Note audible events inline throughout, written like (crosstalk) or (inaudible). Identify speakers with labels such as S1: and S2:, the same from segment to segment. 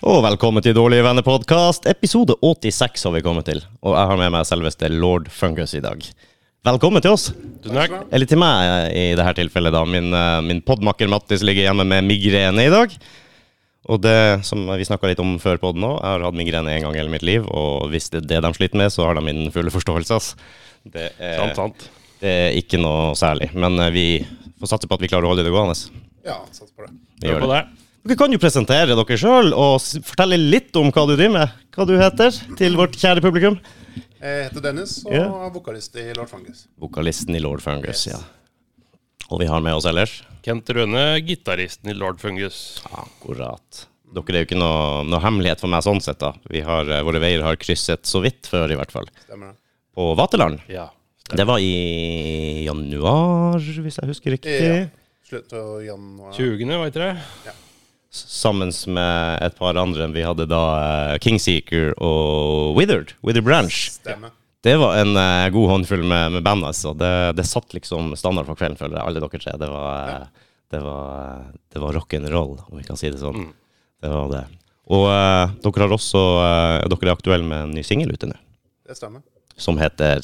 S1: Og velkommen til Dårlige venner-podkast, episode 86 har vi kommet til. Og jeg har med meg selveste lord Fungus i dag. Velkommen til oss.
S2: Tusen takk.
S1: Eller til meg eh, i dette tilfellet, da. Min, eh, min podmakker Mattis ligger hjemme med migrene i dag. Og det som vi snakka litt om før podden òg, jeg har hatt migrene en gang i hele mitt liv, og hvis det er det de sliter med, så har de min fulle forståelse, ass. Det er,
S2: Sant, sant.
S1: det er ikke noe særlig. Men eh, vi får satse på at vi klarer å holde det gående.
S3: Ja, sats på det.
S1: Vi
S2: Hør
S1: gjør
S2: på
S1: det.
S2: det.
S1: Dere kan jo presentere dere sjøl og s- fortelle litt om hva du driver med. Hva du heter til vårt kjære publikum.
S3: Jeg heter Dennis og
S1: Ja.
S3: er vokalist i Lord Fungus.
S1: Vokalisten i Lord Fungus,
S3: Yes.
S1: ja. Og vi har med oss ellers.
S2: Kent Rønne, gitaristen i Lord Fungus.
S1: Akkurat. Dere er jo ikke noe, noe hemmelighet for meg sånn sett, da. Vi har, eh, våre veier har krysset så vidt før, i hvert fall.
S3: Stemmer det?
S1: På Vaterland.
S2: Ja.
S1: Det var i januar, hvis jeg husker
S3: Ja.
S1: riktig.
S3: Slutt av januar.
S2: 20., veit dere?
S1: S- Sammen med et par andre. Vi hadde da eh, Kingseeker og Withered. Wither Branch.
S3: Stemmer.
S1: Det var en eh, god håndfull med, med band, altså. Det, det satt liksom standard for kvelden, føler jeg. Alle dere tre. Det var, eh, det var, eh, det var rock'n'roll, om vi kan si det sånn. Det var det. Og eh, dere har også eh, Dere er aktuelle med en ny singel ute nå,
S3: Det stemmer.
S1: som heter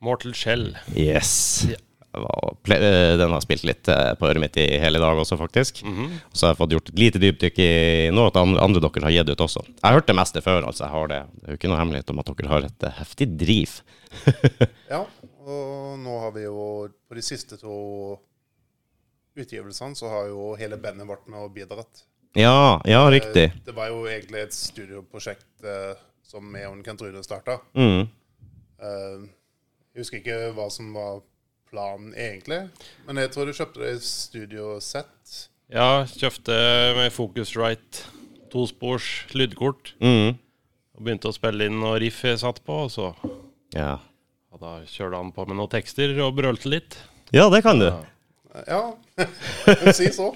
S2: Mortal Shell.
S1: Yes.
S2: Ja.
S1: Det var ple- eh, Den har spilt litt eh, på øret mitt i hele dag også, faktisk. Og Så har jeg fått gjort et lite dypdykk i noe at andre, andre dere har gitt ut også. Jeg har hørt det meste før, altså. Jeg har det. Det er jo ikke noe hemmelighet om at dere har et eh, heftig driv.
S3: Ja, og nå har vi jo på de siste to utgivelsene så har jo hele bandet vært med og bidratt.
S1: Ja, ja, riktig.
S3: Eh, Det var jo egentlig et studioprosjekt eh, som jeg og Kent Rune starta.
S1: Mm.
S3: Eh, jeg husker ikke hva som var planen egentlig, men jeg tror du kjøpte deg studiosett.
S2: Ja, kjøpte med Focusrite tospors lydkort.
S1: Mm.
S2: Og begynte å spille inn noe riff jeg satt på, og så
S1: Ja.
S2: ja, da kjørte han på med noen tekster og brølte litt.
S1: ja, det kan du.
S3: Eh, Ja, (laughs) si så.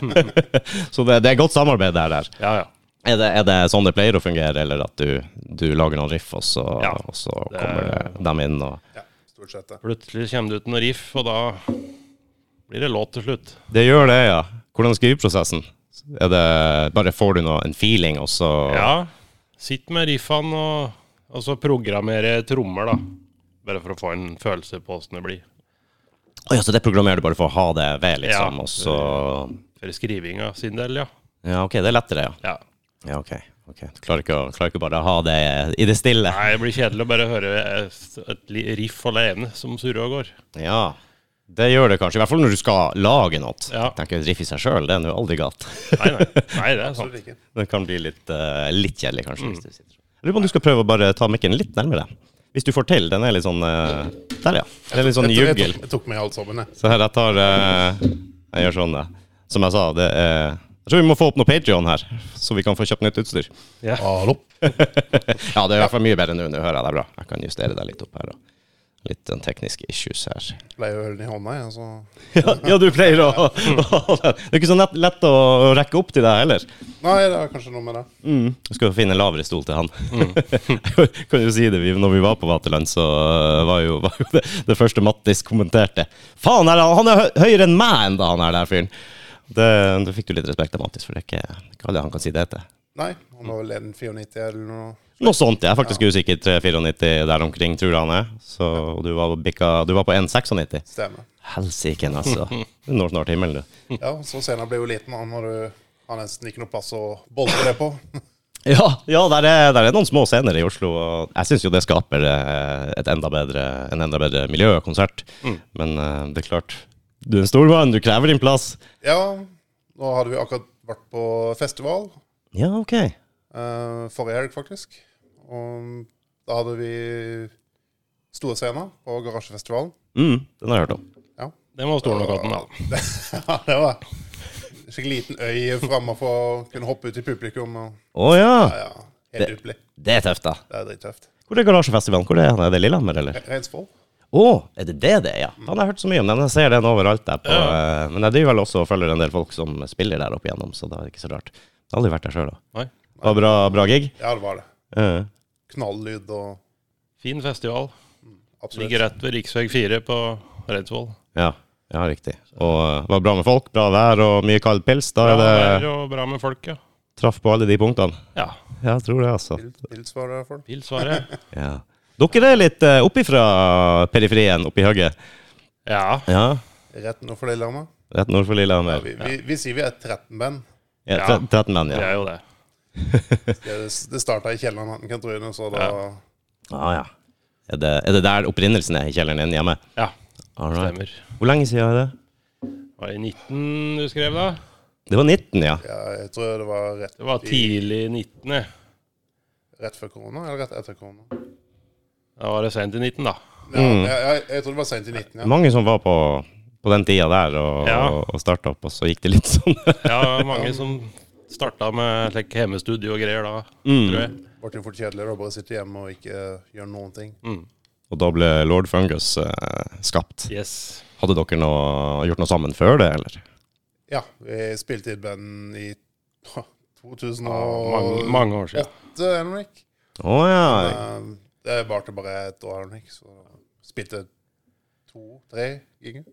S1: Så det, det er godt samarbeid der. der.
S2: Ja, ja.
S1: Er, det, er det sånn det pleier å fungere, eller at du, du lager noen riff, og så,
S2: Ja.
S1: og så kommer det, dem inn og
S3: Ja, stort sett det.
S2: Plutselig kommer det ut noe riff, og da blir det låt til slutt.
S1: Det gjør det, ja. Hvordan er skriveprosessen? Er det bare får du noe, en feeling, og så
S2: Ja. Sitt med riffene og, og så programmere trommer, da. Bare for å få en følelse på åssen det blir.
S1: Å ja, så det programmerer du bare for å ha det ved, liksom,
S2: Ja.
S1: og så
S2: For skrivinga sin del, ja.
S1: Ja, OK, det er lettere, ja.
S2: ja.
S1: Ja, OK. ok. Du klarer ikke, å, klarer ikke bare å ha det i det stille.
S2: Nei, det blir kjedelig å bare høre et et li- riff alene som surrer og går.
S1: Ja. Det gjør det kanskje, i hvert fall når du skal lage noe.
S2: Ja.
S1: Jeg tenker et riff i seg sjøl, det er nå aldri galt.
S2: Nei, nei, nei det er sant.
S3: Absolutt ikke.
S1: Den kan bli litt, eh, litt kjedelig, kanskje. Hvis du sitter. Jeg lurer på om du skal prøve å bare ta mikken litt nærmere. Hvis du får til. Den er litt sånn eh, Der, ja. Det er litt sånn
S3: Jeg tok- Jeg
S1: juggel.
S3: tok, jeg tok med alt sammen, jeg.
S1: Så her, jeg tar eh, Jeg gjør sånn, jeg. Som jeg sa, det er Jeg tror vi må få opp noe Patreon her, så vi kan få kjøpt nytt utstyr. (laughs)
S2: Ja.
S3: Hallo.
S1: Ja, det er i hvert fall mye bedre nå. Nå hører jeg deg bra. Jeg kan justere deg litt opp her. Og. Litt sånn tekniske issues her.
S3: Pleier å holde den i hånda, jeg. altså. Så.
S1: Ja, du pleier å (laughs) Det er ikke så lett, lett å rekke opp til deg heller.
S3: Nei, det er kanskje noe med det.
S1: Mm. Jeg skal finne en lavere stol til han. (laughs) kan jo si det, vi, når vi var på Vaterland, så øh, var jo, var jo det, det første Mattis kommenterte Faen, er han, han er hø- høyere enn meg enda, han her der fyren! Det, da fikk du litt respekt av Mattis, for det er ikke, ikke alle han kan si det til.
S3: Nei, han var vel 1,94 eller noe.
S1: Noe sånt. Jeg er faktisk usikker. 3,94 der omkring, tror jeg han er. Så og du var, bikka, du var på 1,96.
S3: Stemmer.
S1: Helsike, altså. Du når snart himmelen, du.
S3: Ja, så senere ble jo liten, han når du har nesten ikke noe plass å boltre det på. (laughs)
S1: Ja, ja der, er, der er noen små scener i Oslo, og jeg syns jo det skaper eh, et enda bedre, en enda bedre miljø og konsert. Men eh, det er klart, du er en stor mann, du krever din plass.
S3: Ja, nå hadde vi akkurat vært på festival
S1: Ja, OK.
S3: eh, forrige helg, faktisk. Og da hadde vi store scener på Garasjefestivalen.
S1: Mm, den har jeg hørt om.
S2: Det må stå nok av den, da.
S3: Ja, det var skikkelig liten øy framme for å kunne hoppe ut i publikum. Og,
S1: Å ja!
S3: ja, ja, helt ypperlig.
S1: Det er tøft, da.
S3: Det er drittøft.
S1: Hvor er Garasjefestivalen? Hvor er, den? er det Lillehammer, eller?
S3: Reinsvoll.
S1: Å, er det det det er? Ja. Han har hørt så mye om den. Jeg ser den overalt. Der på, eh, Men jeg driver vel også og følger en del folk som spiller der opp igjennom, så da er det ikke så rart. Jeg har aldri vært der sjøl, da.
S2: Nei.
S1: Det var bra, bra gig.
S3: Ja, det var det.
S1: Eh,
S3: Knalllyd og
S2: Fin festival.
S3: absolutt.
S2: Ligger rett ved rv. 4 på Reinsvoll.
S1: ja. ja, riktig. Og eh, det var bra med folk, bra vær og mye kald pils. Da
S2: Bra
S1: er det
S2: vær og bra med folk, ja.
S1: Traff på alle de punktene?
S2: Ja.
S1: Ja, jeg tror det, altså.
S3: Vil, vil svare for den.
S2: Vil svaret.
S1: Ja. Dere er litt uh, oppifra periferien, oppi hugget?
S2: Ja.
S1: Ja.
S3: Rett nord for Lillehammer.
S1: Rett nord for
S3: Ja,
S1: Lillehammer.
S3: vi, vi, vi sier vi er 13 band.
S1: Ja,
S2: Ja.
S1: tre- 13 menn,
S2: Det
S1: ja.
S2: er jo det.
S3: Det, det starta i kjelleren han kan tro, så da
S2: Ja.
S1: Ah, ja. Er, det, er det der opprinnelsen er i kjelleren din hjemme?
S2: Ja,
S1: All right.
S2: stemmer.
S1: Hvor lenge siden er det?
S2: Var det 19 du skrev, da?
S1: Det var 19, ja.
S3: ja, Jeg tror det var rett,
S2: Det var
S3: i-
S2: tidlig 19. jeg.
S3: rett før korona, eller rett etter korona.
S2: Da var det sent i 19, da.
S3: Ja, jeg, jeg, jeg tror det var seint i 19, ja.
S1: Mange som var på, på den tida der og,
S2: Ja.
S1: og starta opp, og så gikk det litt (laughs) sånn.
S2: Ja, det var mange som starta med like, hjemmestudio og greier da,
S1: Mm.
S2: tror jeg.
S3: Ble jo fort kjedelig å bare sitte hjemme og ikke eh, gjøre noen ting.
S2: Mm.
S1: Og da ble Lord Fungus eh, skapt.
S2: Yes.
S1: Hadde dere noe, gjort noe sammen før det, eller?
S3: Ja, vi spilte i et band i
S2: Mange,
S3: 2008,
S2: mange år siden.
S3: Henrik.
S1: Å ja.
S3: Eh, Det varte bare et år, Henrik. Så spilte to-tre ganger.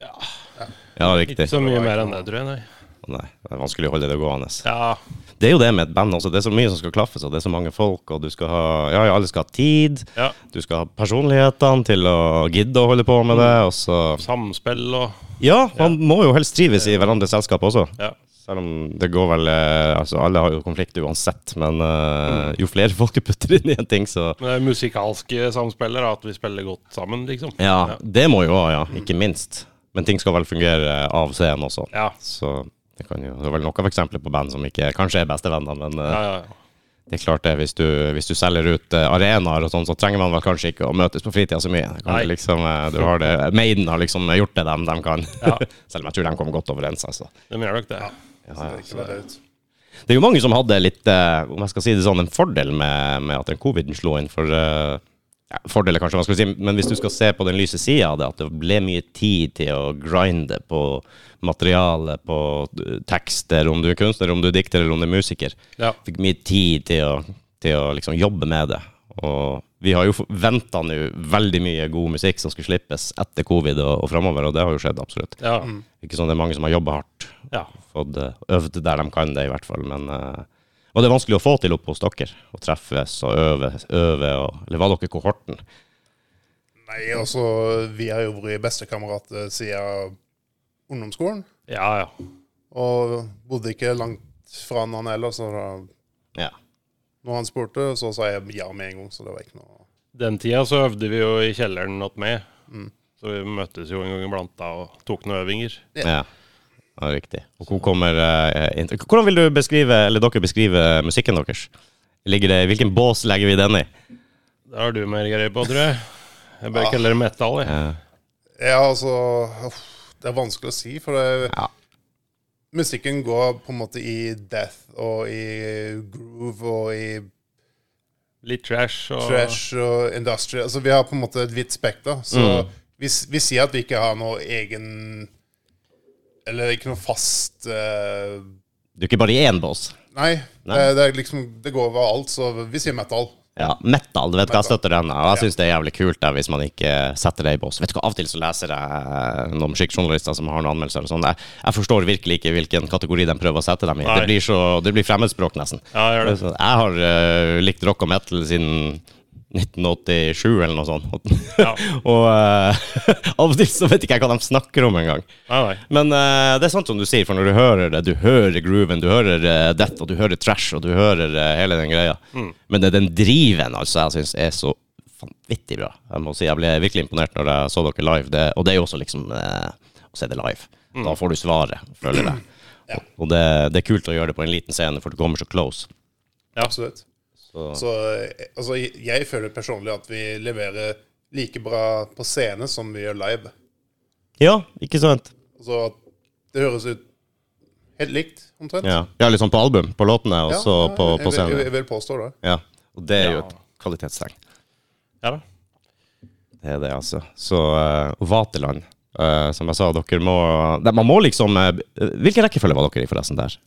S1: Ja,
S2: Ikke
S1: riktig.
S2: så mye mer enn det, tror jeg. Nei.
S1: Nei, det er vanskelig å holde det gående.
S2: Ja,
S1: Det er jo det med et band også. Det er så mye som skal klaffes, og det er så mange folk, og du skal ha Ja, ja, alle skal ha tid.
S2: ja.
S1: Du skal ha personlighetene til å gidde å holde på med det, og så
S2: Samspill og
S1: Ja, man må jo helst trives i hverandres selskap også.
S2: Ja.
S1: Selv om det går vel eh, Altså, alle har jo konflikt uansett, men eh, jo flere (laughs) folk du putter inn i en ting, så
S2: Men det er musikalske samspiller, da, at vi spiller godt sammen, liksom.
S1: Ja, det må jo òg, ja. Ikke minst. Men ting skal vel fungere av scenen også.
S2: Ja.
S1: Så det kan jo Det er vel nok av eksempler på band som ikke kanskje er bestevenner, men eh,
S2: Ja, ja, ja.
S1: det er klart det, hvis du, hvis du selger ut eh, arenaer og sånn, så trenger man vel kanskje ikke å møtes på fritida så mye. Kan
S2: Nei.
S1: du liksom, eh, du har det, Maiden har liksom gjort det dem de kan.
S2: Ja.
S1: (laughs) Selv om jeg tror de kom godt overens. Altså.
S2: De gjør nok det.
S3: Så det ikke var ut.
S1: Det er jo mange som hadde litt, eh, om jeg skal si det sånn, en fordel med, med at den coviden slo inn. For eh, ja, fordel er kanskje vanskelig å si, men hvis du skal se på den lyse sida av det, at det ble mye tid til å grinde på materiale, på eh, tekster, om du er kunstner, om du er dikter eller om du er musiker.
S2: Ja.
S1: Fikk mye tid til å, til å liksom jobbe med det. Og vi har jo venta nå veldig mye god musikk som skulle slippes etter covid og, og framover, og det har jo skjedd, absolutt.
S2: Ja.
S1: Ikke sånn det er mange som har jobba hardt
S2: ja.
S1: fått eh, øvd der de kan det, i hvert fall. Men, eh, og det er vanskelig å få til oppe hos dere. Å treffes og øve. øve og, eller var dere kohorten?
S3: Nei, altså, vi har jo vært bestekamerater siden ungdomsskolen.
S2: Ja, ja.
S3: Og bodde ikke langt fra han heller, så da
S1: Ja.
S3: når han spurte, så sa jeg ja med en gang. Så det var ikke noe
S2: Den tida så øvde vi jo i kjelleren att med. Så vi møttes jo en gang iblant da og tok noen øvinger.
S1: ja. Ja, riktig. Og hvor kommer, eh, int- hvordan vil du beskrive, eller dere beskrive musikken deres? Ligger det, hvilken bås legger vi den i?
S2: Det har du mer greie på, tror jeg. Jeg bør kalle det metal, jeg.
S1: Eh,
S3: Ja, altså uff, Det er vanskelig å si, for det,
S1: Ja.
S3: musikken går på en måte i death og i groove og i
S2: Litt trash og
S3: trash og industry. Altså, vi har på en måte et vidt spekter. Så
S1: Mm.
S3: vi, s- vi sier at vi ikke har noe egen Eller ikke noe fast eh,
S1: Det er jo ikke bare én bås.
S3: Nei.
S1: Nei.
S3: Det, det, er liksom, det går over alt, så vi sier metal.
S1: Ja, metal, du vet hva
S3: Metal.
S1: jeg støtter den av. Jeg syns det er jævlig kult da, hvis man ikke setter det i bås. Vet du hva, Av og til så leser jeg eh, noen musikkjournalister som har noen anmeldelser og sånn. Jeg, jeg forstår virkelig ikke hvilken kategori de prøver å sette dem i.
S2: Nei.
S1: Det blir, så, det blir fremmedspråk, nesten.
S2: Ja, gjør det.
S1: Så Jeg har eh, likt rock og metal siden 1987 eller noe sånt.
S2: Ja.
S1: (laughs) og eh, (laughs) av og til så vet ikke jeg hva de snakker om engang.
S2: Nei, nei.
S1: Men eh, det er sant som du sier, for når du hører det, du hører grooven, du hører eh, death, og du hører trash, og du hører eh, hele den greia.
S3: Mm.
S1: Men det er den driven altså, jeg syns er så vanvittig bra. Jeg må si, jeg ble virkelig imponert når jeg så dere live. Det, og det er jo også liksom eh, å se det live.
S3: Mm.
S1: Da får du svaret,
S3: (clears throat)
S1: føler jeg. Og- Og det, det er kult å gjøre det på en liten scene, for du kommer så close.
S3: Absolutt.
S1: Så,
S3: Så eh, altså, jeg- jeg føler personlig at vi leverer like bra på scene som vi gjør live.
S1: ja, ikke sant?
S3: Altså at det høres ut helt likt, omtrent.
S1: Ja, ja liksom på album, på låtene, og
S3: Ja,
S1: så
S3: ja,
S1: Altså på,
S3: jeg
S1: på
S3: vil- Jeg,
S1: scenen.
S3: jeg vil påstå det.
S1: Ja. Og det er jo
S2: Ja.
S1: et kvalitetstegn.
S2: Ja da.
S1: Det er det, altså. Så eh, og Vaterland, eh, som jeg sa, dere må Nei, Man må liksom eh, Hvilken rekkefølge var dere i, forresten, der?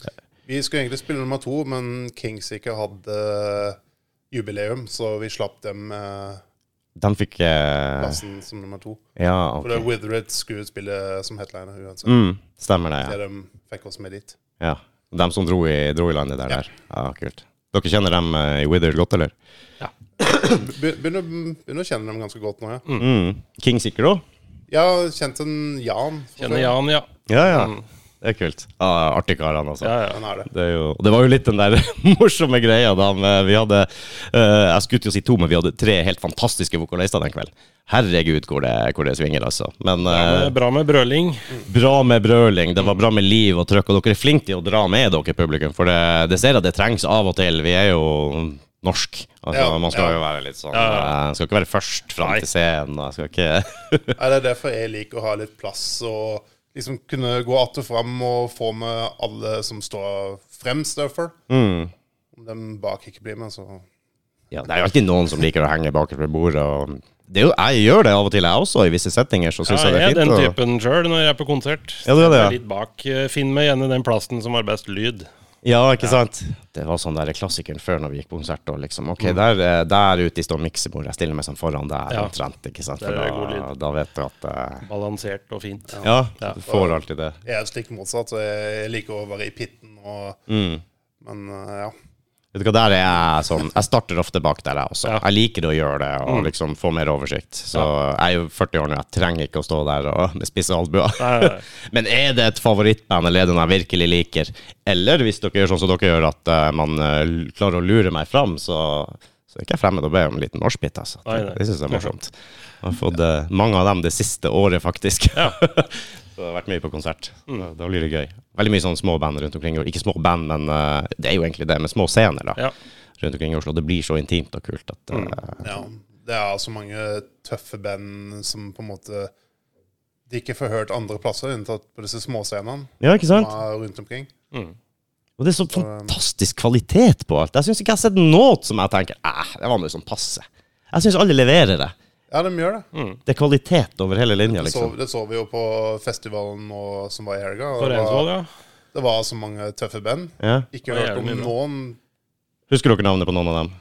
S3: Vi skulle egentlig spille nummer to, men Kings ikke hadde eh, jubileum, så vi slapp dem eh,
S1: De fikk eh,
S3: plassen som nummer to.
S1: Ja,
S3: For det
S1: ok.
S3: Withered skulle spille som headliner uansett.
S1: Mm, stemmer det,
S3: Det
S1: ja.
S3: de fikk oss med dit.
S1: ja. De som dro i, dro i landet der,
S3: Ja.
S1: der. Ja, kult. Dere kjenner dem eh, i Wither godt, eller?
S3: Be- Begynner, begynner å kjenne dem ganske godt nå, ja.
S1: Mm. King sikkert òg?
S3: Jeg har kjent en Jan. fra
S2: Kjenner
S3: før.
S2: Jan, ja.
S1: Ja, ja. Det er kult. Ja, artig kar, han altså.
S2: ja, ja.
S3: Han er det.
S1: Det, er jo, og det var jo litt den der (laughs) morsomme greia da med- vi hadde eh, Jeg skulle til å si to, men vi hadde tre helt fantastiske vokalister den kvelden. Herregud, hvor det, hvor det svinger, altså. Men
S2: Det
S1: eh,
S2: er Bra med brøling.
S1: bra med brøling, det var bra med liv og trøkk, og dere er flinke til å dra med dere, publikum. For det, det ser jeg det trengs av og til. Vi er jo norsk. Altså,
S3: Ja,
S1: man skal
S3: ja.
S1: jo være litt sånn
S2: Ja,
S1: eh, Skal ikke være først fram
S2: Nei.
S1: til scenen. og Jeg skal ikke (laughs)
S3: Nei, det er derfor jeg liker å ha litt plass og liksom kunne gå att og fram og få med alle som står fremst derfor.
S1: Mm.
S3: Om dem bak ikke blir med, så
S1: Ja, det er jo alltid noen som liker å henge bakerst ved bordet. Og det er jo, jeg gjør det av og til, jeg også, i visse settinger. Så
S2: Ja,
S1: synes
S2: jeg
S1: jeg
S2: er
S1: det er
S2: den
S1: fint.
S2: typen sjøl når jeg er på konsert.
S1: Ja, du er det, ja.
S2: Sitter Litt bak. Eh, Finn meg gjerne den plassen som har best lyd.
S1: Og, ja, ikke sant? Det var sånn der klassikeren før når vi gikk på konsert. Og liksom, ok, der, eh, der ute står miksebordet, jeg stiller meg sånn foran der
S2: Ja.
S1: omtrent. ikke sant?
S2: Der
S1: For
S2: er det
S1: da,
S2: god
S1: da vet du at eh,
S2: Balansert og fint.
S1: ja, du får alltid det.
S3: jeg er slik motsatt. så Jeg liker å være i pitten og Men eh, ja.
S1: Vet du hva, der er jeg sånn Jeg starter ofte bak der, jeg også.
S2: Ja. Mm.
S1: Jeg liker å gjøre det og liksom få mer oversikt. Så jeg er jo 40 år nå, jeg trenger ikke å stå der og (laughs) med spisse albuer.
S2: Nei, nei, nei.
S1: (laughs) Men er det et favorittband eller er det noe jeg virkelig liker? Eller hvis dere gjør sånn som dere gjør, at eh, man eh, l- klarer å lure meg fram, så, så er ikke jeg fremmed å be om en liten norskbit. Altså.
S2: Nei, nei.
S1: Det syns jeg er morsomt. Jeg har fått eh, mange av dem det siste året, faktisk. (laughs) så det har vært mye på konsert.
S2: Mm.
S1: Da- Da blir det gøy. Veldig mye sånne små band rundt omkring. og Ikke små band, men eh, det er jo egentlig det, men små scener da,
S2: Ja. Mm.
S1: rundt omkring i Oslo. Det blir så intimt og kult at eh,
S3: ja. Det er så mange tøffe band som på en måte de ikke får hørt andre plasser, unntatt på disse småscenene
S1: Ja, ikke
S3: som
S1: sant?
S3: er rundt omkring.
S1: Og det er så fantastisk kvalitet på alt. Jeg syns ikke jeg har sett noe som jeg tenker Æh, det var noe sånn passe. Jeg syns alle leverer det.
S3: Ja, de gjør det.
S1: Det er kvalitet over hele linja,
S3: Så,
S1: liksom.
S3: det så vi jo på festivalen nå, som var i helga. og
S2: På
S3: det var-
S2: Reinsvoll, ja.
S3: Det var så mange tøffe band.
S1: Ja.
S3: Ikke
S2: Det er
S3: hørt om
S2: jævlig bra.
S3: noen.
S1: Husker dere navnet på noen av dem?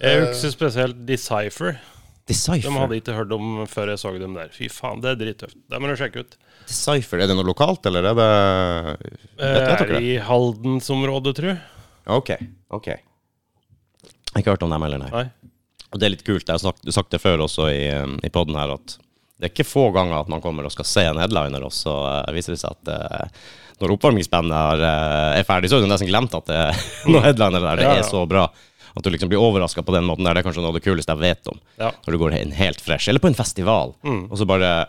S2: Jeg husker spesielt Decipher. De
S1: Decipher.
S2: hadde ikke hørt om før jeg så dem der. Fy faen, det er drittøft. Det må du sjekke ut.
S1: Decipher, Er det noe lokalt, eller er det Vet
S2: Eh,
S1: vet
S2: Er
S1: dere det?
S2: i Haldensområdet, tru.
S1: OK. ok. Jeg har ikke hørt om dem heller, nei.
S2: Nei.
S1: Og det er litt kult. Jeg har sagt, sagt det før også i, um, i poden her, at det er ikke få ganger at man kommer og skal se en headliner, og så eh, viser det seg at eh, når oppvarmingsbandet er, eh, er ferdig, så er du nesten glemt at det (laughs) er noen headliner der. Det
S2: Ja, ja.
S1: er så bra. At du liksom blir overraska på den måten der, det er kanskje noe av det kuleste jeg vet om.
S2: Ja.
S1: Når du går inn helt fresh, eller på en festival, og så bare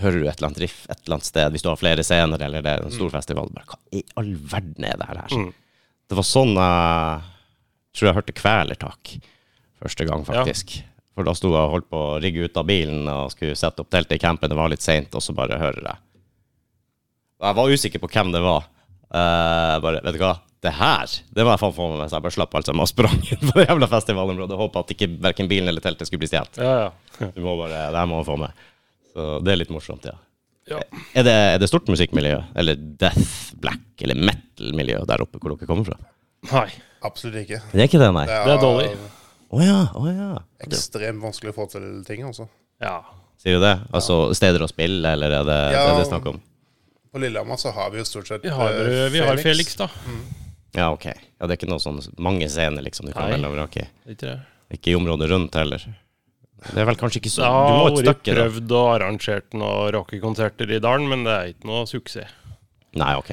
S1: hører du et eller annet riff et eller annet sted, hvis du har flere scener, eller det er en stor festival, bare hva i all verden er det her? Det var sånn jeg tror jeg hørte Kvelertak første gang, faktisk. For da sto jeg og holdt på å rigge ut av bilen og skulle sette opp teltet i campen. Det var litt seint, og så bare hører jeg. Og jeg var usikker på hvem det var. Eh, bare, vet du hva, det her Det var jeg faen få med meg, så jeg bare slapp alt sammen og sprang inn på det jævla festivalområdet og håpa at ikke verken bilen eller teltet skulle bli stjålet.
S2: Ja, ja.
S1: Du må bare Det her må jeg få med. Så det er litt morsomt, ja.
S2: ja.
S1: Er det, er det stort musikkmiljø, eller death, black eller metal-miljø der oppe hvor dere kommer fra?
S2: Nei.
S3: Absolutt ikke.
S1: Det er ikke det, nei? Å
S2: Det er dårlig.
S1: ja, å ja.
S3: Ekstremt vanskelig å få til ting, altså.
S2: Ja.
S1: Sier du det? Altså steder å spille, eller er det
S3: Ja.
S1: det, er det snakk om?
S3: På Lillehammer så har vi jo stort sett
S2: Vi har,
S3: eh,
S2: vi har Felix, da.
S1: Ja, ok. Ja, det er ikke noe sånn mange scener liksom du kan
S2: Nei.
S1: velge og vrake i.
S2: Ikke det?
S1: Ikke i området rundt heller. Det er vel kanskje ikke så
S2: Det
S1: Du må
S2: har
S1: et
S2: vært
S1: stykke, da.
S2: prøvd og arrangert noen rockekonserter i dalen, men det er ikke noe suksess.
S1: Nei, ok.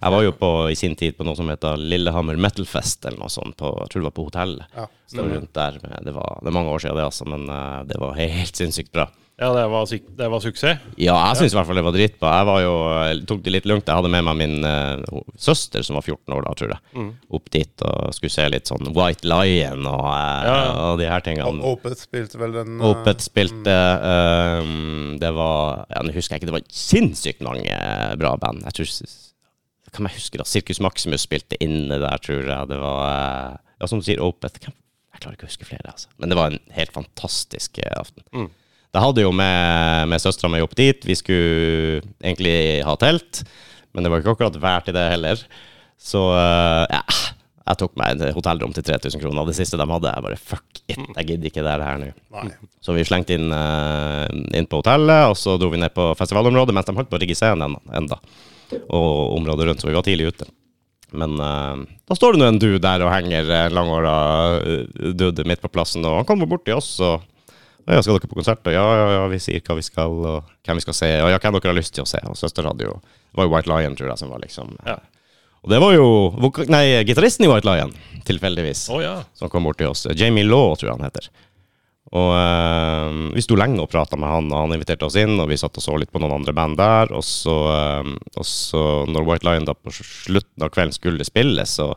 S1: Jeg var jo på, i sin tid på noe som heter Lillehammer Metalfest, eller noe sånt. På, jeg tror det var på hotellet.
S3: Ja.
S1: Så det var rundt der. men Det var, det er mange år siden, det, altså, men eh, det var helt sinnssykt bra.
S2: Ja, det var, sik- det var suksess.
S1: Ja, jeg syns i hvert fall det var dritbra. Jeg var jo, jeg tok det litt lugnt. Jeg hadde med meg min eh, ho- søster, som var 14 år da, tror jeg, opp dit og skulle se litt sånn White Lion og, eh,
S2: Ja.
S1: og de her
S3: O-
S1: tingene.
S3: Opeth spilte vel den eh,
S1: Opet spilte eh, Det var ja, Nå husker jeg ikke, det var sinnssykt mange eh, bra band. Jeg tror Kan jeg huske da Sirkus Maximus spilte inne der, tror jeg. Det var eh, Ja, som du sier, Opet. Hvem- Jeg klarer ikke å huske flere, altså. Men det var en helt fantastisk eh, aften. Det hadde jo med, med søstera mi opp dit. Vi skulle egentlig ha telt, men det var ikke akkurat vær til det heller. Så eh, ja, jeg tok meg et hotellrom til 3000 kroner. Det siste de hadde, jeg bare fuck it, jeg gidder ikke det her nå.
S3: Nei.
S1: Så vi slengte inn, eh, inn på hotellet, og så dro vi ned på festivalområdet mens de holdt på å rigge scenen enda. og området rundt, så vi var tidlig ute. Men eh, da står det nå en dude der og henger eh, en langhåra eh, dude midt på plassen, og han kommer bort til oss og «Å ja, skal dere på konsert? Og ja, ja, ja, vi sier hva vi skal, og hvem vi skal se, og ja, hvem dere har lyst til å se. Og søster hadde jo Det var jo White Lion, tror jeg, som var liksom eh,
S2: Ja.
S1: Og det var jo voka- Nei, gitaristen i White Lion, tilfeldigvis
S2: Å ja.
S1: som kom bort til oss. Jamie Law, tror jeg han heter. Og eh, Vi sto lenge og prata med han, og han inviterte oss inn. Og vi satt og så litt på noen andre band der. Og så, eh, og så når White Lion da på slutten av kvelden skulle spille, så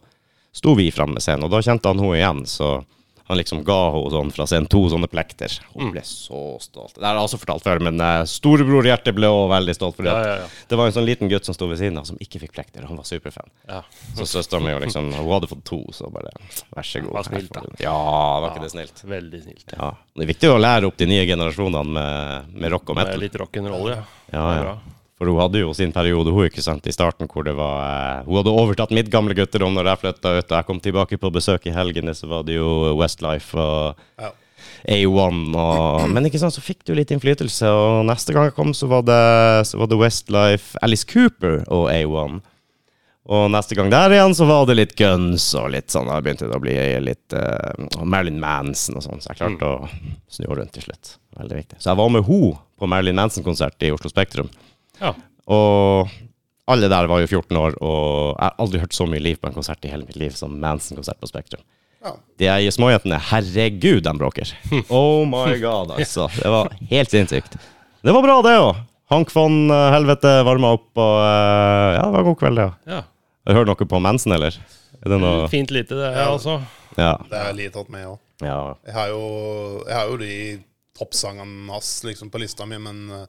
S1: sto vi framme med scenen. Og da kjente han henne igjen, så han liksom ga henne sånn fra scenen to sånne plekter. Hun ble så stolt. Det har jeg også fortalt før, men eh, storebror Hjerte ble òg veldig stolt. Fordi
S2: Ja,
S1: at
S2: ja, ja.
S1: det var en sånn liten gutt som sto ved siden av, som ikke fikk plekter. Han var superfan.
S2: ja.
S1: Så søstera mi liksom, hun hadde fått to, så bare vær så god.
S2: Var snilt, da.
S1: Ja, var ikke det snilt?
S2: Veldig snilt.
S1: Ja. Det er viktig å lære opp de nye generasjonene med, med rock og
S2: Med
S1: metal.
S2: litt rock'n'roll, ja.
S1: Ja,
S2: Det er
S1: ja.
S2: bra.
S1: For hun hadde jo sin periode hun, ikke sant, i starten hvor det var eh, Hun hadde overtatt mitt gamle gutterom når jeg flytta ut, og jeg kom tilbake på besøk i helgene, så var det jo Westlife og
S3: Ja.
S1: A1 og Men ikke sant, så fikk du litt innflytelse, og neste gang jeg kom, så var det, så var det Westlife, Alice Cooper og A1. Og neste gang der igjen, så var det litt guns og litt sånn. Da begynte det å bli litt eh, Marilyn Manson og sånn, så jeg klarte å snu henne rundt til slutt. Veldig viktig. Så jeg var med henne på Marilyn Manson-konsert i Oslo Spektrum.
S2: ja.
S1: Og alle der var jo 14 år, og jeg har aldri hørt så mye liv på en konsert i hele mitt liv som Manson-konsert på Spektrum.
S3: Ja.
S1: De her småjentene, herregud, de bråker. Oh my god, altså. Det var helt sinnssykt. Det var bra, det òg. Hank von eh, helvete varma opp, og eh, ja, det var god kveld, det. Ja.
S2: ja.
S1: Hører dere på Manson, eller? Er det noe
S2: Fint lite, det, ja, altså.
S1: Ja.
S3: Det er litt tatt med òg.
S1: ja.
S3: Jeg har jo, jeg har jo de toppsangene hans liksom, på lista mi, men, eh,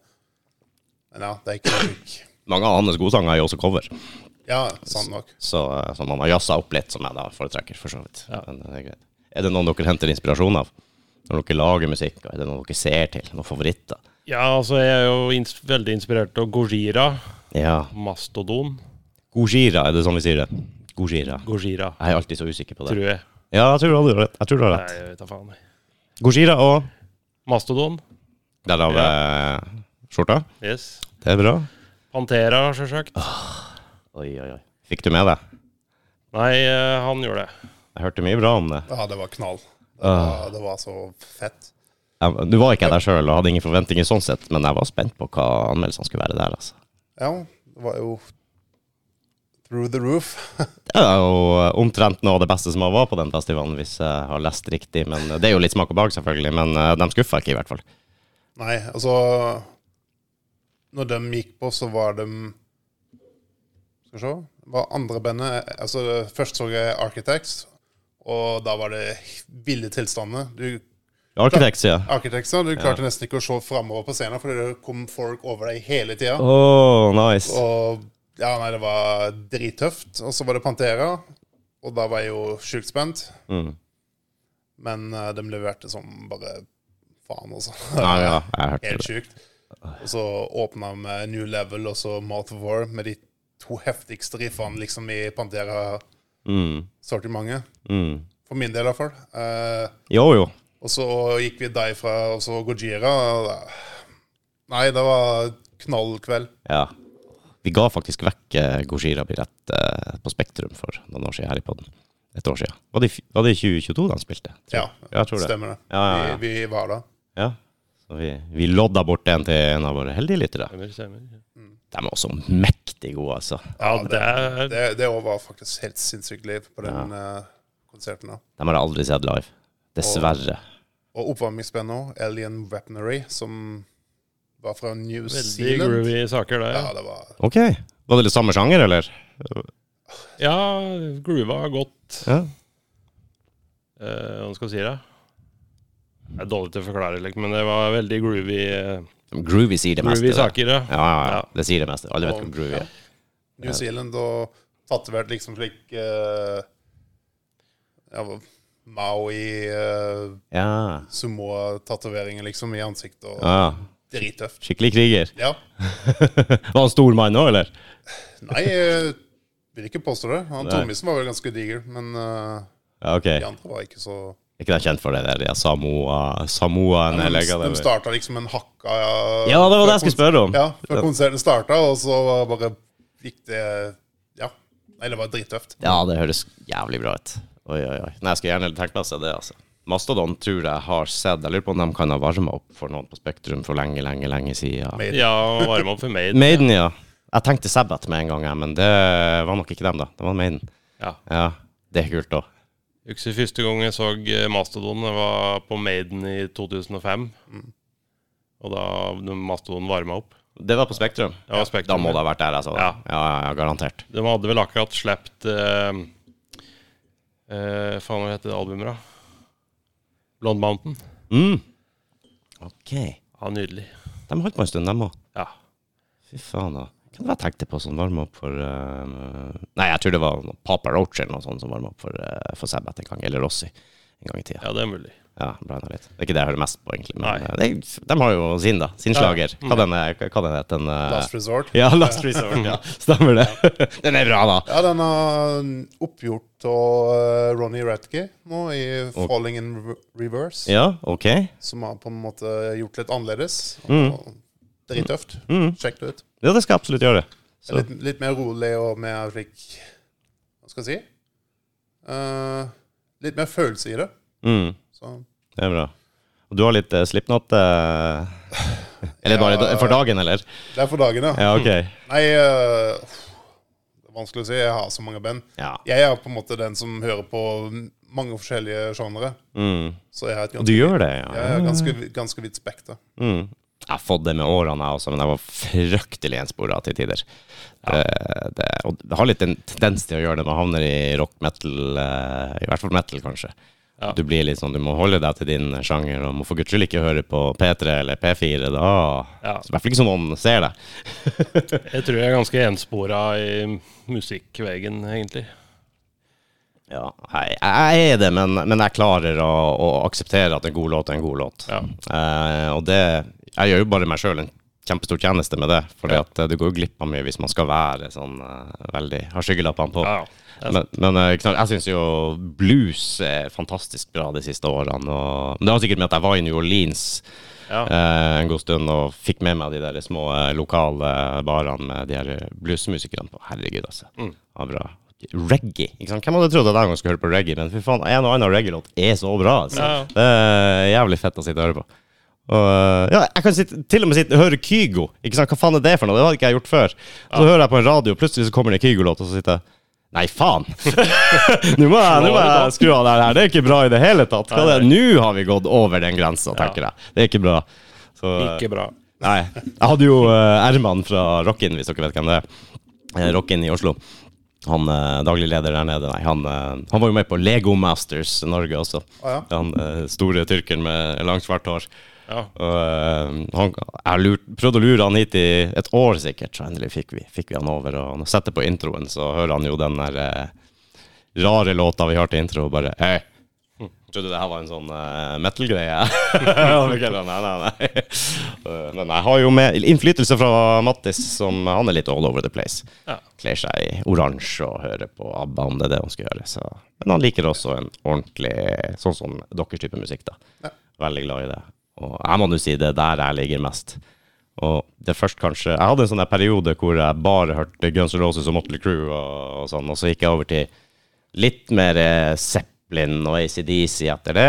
S3: men ja, det er ikke nok.
S1: Mange av hans godsanger er jo også cover,
S3: (clears throat) Ja, sant nok.
S1: så, eh, så man har jazza opp litt, som jeg da foretrekker, for så vidt.
S2: Ja.
S1: Men det er greit. Er det noen dere henter inspirasjon av? Når dere lager musikk, og er det noe dere ser til? Noen favoritter?
S2: Ja, altså, jeg er jo ins veldig inspirert av Gojira.
S1: Ja.
S2: Mastodon.
S1: Gojira, er det sånn vi sier det? Gojira.
S2: Gojira,
S1: Jeg er alltid så usikker på det.
S2: tror jeg.
S1: Ja, jeg tror du har rett. Jeg tror du har
S2: Nei,
S1: rett.
S2: jeg vet da faen.
S1: Gojira og
S2: Mastodon.
S1: Derav eh, skjorta.
S2: Yes.
S1: Det er bra.
S2: Pantera, sjølsagt.
S1: Oi, oi, oi. Fikk du med deg?
S2: Nei, eh, han gjorde det.
S1: Jeg hørte mye bra om det.
S3: Ja, det var knall. Det var, det var så fett.
S1: Jeg, nå var ikke jeg der sjøl og hadde ingen forventninger sånn sett, men jeg var spent på hva anmeldelsene skulle være der, altså.
S3: Ja, det var jo through the roof.
S1: Det er jo omtrent noe av det beste som har vært på den festivalen, hvis jeg har lest riktig. Men Det er jo litt smak og behag, selvfølgelig, men eh, de skuffa ikke, i hvert fall.
S3: Nei, altså Når de gikk på, så var de Skal vi se var andre bandet altså, Først så jeg Architects, og da var det ville tilstander. Du,
S1: Architects, ja.
S3: Architects, ja, du klarte nesten ikke å se framover på scenen, for det kom folk over deg hele tida.
S1: Å, nice.
S3: Og ja, nei, det var drittøft. Og så var det Pantera, og da var jeg jo sjukt spent.
S1: Mm.
S3: Men eh, de leverte som bare faen, altså.
S1: Ja, ja, jeg hørte
S3: Helt
S1: det.
S3: sjukt. Og så åpna han med New Level og så Mouth of War med de to heftigste riffene liksom i Pantera-sortimentet.
S1: Mm. Mm.
S3: For min del, i hvert fall. Eh,
S1: Jo, jo.
S3: og så gikk vi derfra, og så Gojira. og da- Nei, det var knallkveld.
S1: Ja. Vi ga faktisk vekk eh, Gojira-billett eh, på Spektrum for noen år siden her i podden. Et år siden. Var det, i fj- var det i 2022 de spilte? Tror
S3: Ja,
S1: jeg. jeg tror det.
S3: stemmer det.
S1: Ja, ja, ja.
S3: Vi, vi var da.
S1: Ja. Så vi, vi lodda bort en til en av våre heldige lyttere.
S2: Stemmer, stemmer.
S1: De er også mektig gode, altså.
S2: Ja, det er
S3: Det, det var faktisk helt sinnssykt liv på den eh, konserten. da.
S1: De har jeg aldri sett live. Dessverre.
S3: Og oppvarmingsbandet òg, Alien Weaponry, som var fra New
S2: veldig
S3: Zealand.
S2: groovy saker, det.
S3: Ja, det var
S1: Ok. Var det litt samme sjanger, eller?
S2: Ja, groova godt.
S1: Ja.
S2: Eh, hva skal jeg si det? Det er dårlig til å forklare, liksom, men det var veldig groovy, eh,
S1: Groovy sier det meste.
S2: groovy
S1: det.
S2: saker. Ja.
S1: Ja, ja, ja.
S2: Ja.
S1: Det sier det meste. Alle vet hvor groovy er.
S3: New Zealand og tatovert liksom slik eh, ja, Maui, uh,
S1: Ja.
S3: sumo-tatoveringer liksom i ansiktet og
S1: ja.
S3: drittøft.
S1: Skikkelig kriger.
S3: Ja.
S1: Var han stor mann òg, eller?
S3: Nei, jeg vil ikke påstå det. Han
S1: Nei.
S3: Tommisen var vel ganske diger, men eh,
S1: Ja, ok.
S3: de andre var ikke så
S1: Er ikke de kjent for det der ja, Samoa, Samoaen
S3: De,
S1: eller hva det
S3: de
S1: var?
S3: starta liksom en hakka
S1: Ja, det var det jeg skulle spørre om.
S3: Ja, før konserten starta, og så var det bare gikk det Ja. Nei, det var drittøft.
S1: Ja, det høres jævlig bra ut. Oi, oi, oi. Nei, jeg skal gjerne tenke meg seg det, altså. Mastodon tror jeg har sett. Jeg lurer på om de kan ha varma opp for noen på Spektrum for lenge, lenge, lenge siden.
S3: Med,
S2: Ja, og varme opp for Maiden.
S1: Maiden, ja. Jeg tenkte Sabbath med en gang, jeg, men det var nok ikke dem, da. Det var Maiden.
S2: Ja.
S1: Ja, det er kult òg.
S2: Husker første gang jeg så eh, Mastodon, det var på Maiden i 2005. Og da når Mastodon varma opp.
S1: Det var på Spektrum?
S2: Det var
S1: Da
S2: Spektrum.
S1: må det ha vært der, altså. Ja,
S2: Ja.
S1: ja, ja garantert.
S2: De hadde vel akkurat sluppet eh, eh, Faen, hva heter det albumet, da? Blond Mountain.
S1: Mm. Ok.
S2: Ja, nydelig.
S1: De holdt på en stund, dem òg.
S2: Ja.
S1: Fy faen, da. Hva var det jeg tenkte på som varma opp for eh, Nei, jeg tror det var noe Papa Roach eller noe sånt som varma opp for, uh, for Sabbath en gang, eller Rossi en gang i tida.
S2: ja, det er mulig.
S1: Ja, blanda litt. Det er ikke det jeg hører mest på, egentlig. Men
S2: Nei.
S1: eh, det, de har jo sin, da. Sin
S2: Ja.
S1: slager. Hva den er- hva den heter den? eh,
S3: Last Resort.
S1: (laughs) ja, Last Resort. Ja, (laughs) stemmer det. (laughs) den er bra, da.
S3: Ja, den er oppgjort av eh, Ronny Ratke nå i Falling in Re- Reverse,
S1: Ja, OK.
S3: som har på en måte gjort litt annerledes.
S1: Mm.
S3: Og drittøft. Sjekk det ut.
S1: Ja, det skal jeg absolutt gjøre. Mm. Så.
S3: Litt, litt mer rolig og mer slik Hva skal jeg si? Eh, litt mer følelse i det.
S1: Mm,
S3: Så
S1: det er bra. Og du har litt uh, Slipknot eh, Eller bare
S3: Ja.
S1: for dagen, eller?
S3: det er for dagen, ja.
S1: Ja, OK.
S3: Nei, eh, det er vanskelig å si. Jeg har så mange band.
S1: Ja.
S3: Jeg er på en måte den som hører på mange forskjellige sjangere.
S1: Mm.
S3: Så jeg har et
S1: Du
S3: ganske,
S1: gjør det, ja?
S3: jeg har ganske, ganske vidt spekter.
S1: Mm. Jeg har fått det med årene, jeg også, men jeg var fryktelig enspora til tider. Eh, Det, og det har litt en tendens til å gjøre det når man havner i rock, metal, eh, i hvert fall metal, kanskje.
S2: Ja.
S1: Du blir litt sånn, du må holde deg til din sjanger, og må for guds skyld ikke høre på P3 eller P4. Da
S2: Ja.
S1: Så I hvert fall ikke så noen ser det.
S2: Jeg tror jeg er ganske enspora i musikkvegen, egentlig.
S1: Ja, jeg, jeg er det, men, men jeg klarer å, å akseptere at en god låt er en god låt.
S2: Ja.
S1: Eh, og det Jeg gjør jo bare meg sjøl en kjempestor tjeneste med det, for
S2: Ja.
S1: du går jo glipp av mye hvis man skal være sånn eh, veldig Har skyggelappene på.
S2: Ja, ja.
S1: Men, men eh, knar- jeg syns jo blues er fantastisk bra de siste årene. Og, men det har sikkert med at jeg var i New Orleans
S2: Ja.
S1: eh, en god stund og fikk med meg de der små eh, lokale barene med de her eh, bluesmusikerne på. Herregud, altså.
S2: Mm.
S1: Ja, bra. Reggae. ikke sant? Hvem hadde trodd at jeg en gang skulle høre på reggae? Men fy faen, en og annen reggae-låt er så bra. altså.
S2: Ja, ja.
S1: Det er jævlig fett å sitte og høre på. Og, eh, ja, jeg kan sitte, til og med sitte, høre Kygo. Ikke sant? Hva faen er det for noe? Det hadde ikke jeg gjort før. Så hører jeg på en radio, plutselig så kommer det en Kygo-låt, og så sitter jeg Nei, faen! nå må jeg, nå må jeg skru av det her. Det er ikke bra i det hele tatt. Hva det? Nå har vi gått over den grensa, tenker jeg. Det er ikke bra. Så,
S2: Ikke bra.
S1: Nei. Jeg hadde jo eh, Erman fra Rockin, hvis dere vet hvem det er. Eh, Rockin i Oslo. Han eh, daglig leder der nede, nei, han, eh, han var jo med på Lego Masters Norge også.
S3: Å
S1: Han eh, store tyrkeren med langt, svart hår.
S2: Ja.
S1: Og, eh, han, jeg lurt, prøvde å lure han hit i et år sikkert, så endelig fikk vi, fikk vi han over. Og når jeg setter på introen, så hører han jo den der eh, rare låta vi har til intro, og bare Hei! Trodde det her var en sånn eh, metal-greie. (laughs) Og så kaller han, nei, nei, nei. (laughs) Eh, Men jeg har jo med innflytelse fra Mattis, som han er litt all over the place.
S2: Ja.
S1: Kler seg i oransje og hører på ABBA, om det er det han skal gjøre. Så. Men han liker også en ordentlig sånn som deres type musikk, da. Veldig glad i det. Og jeg må nå si det er der jeg ligger mest. Og det først kanskje Jeg hadde en sånn der periode hvor jeg bare hørte Guns N' Roses og Motley Crew og, og sånn, og så gikk jeg over til litt mer eh, Zeppelin og ACDC etter det.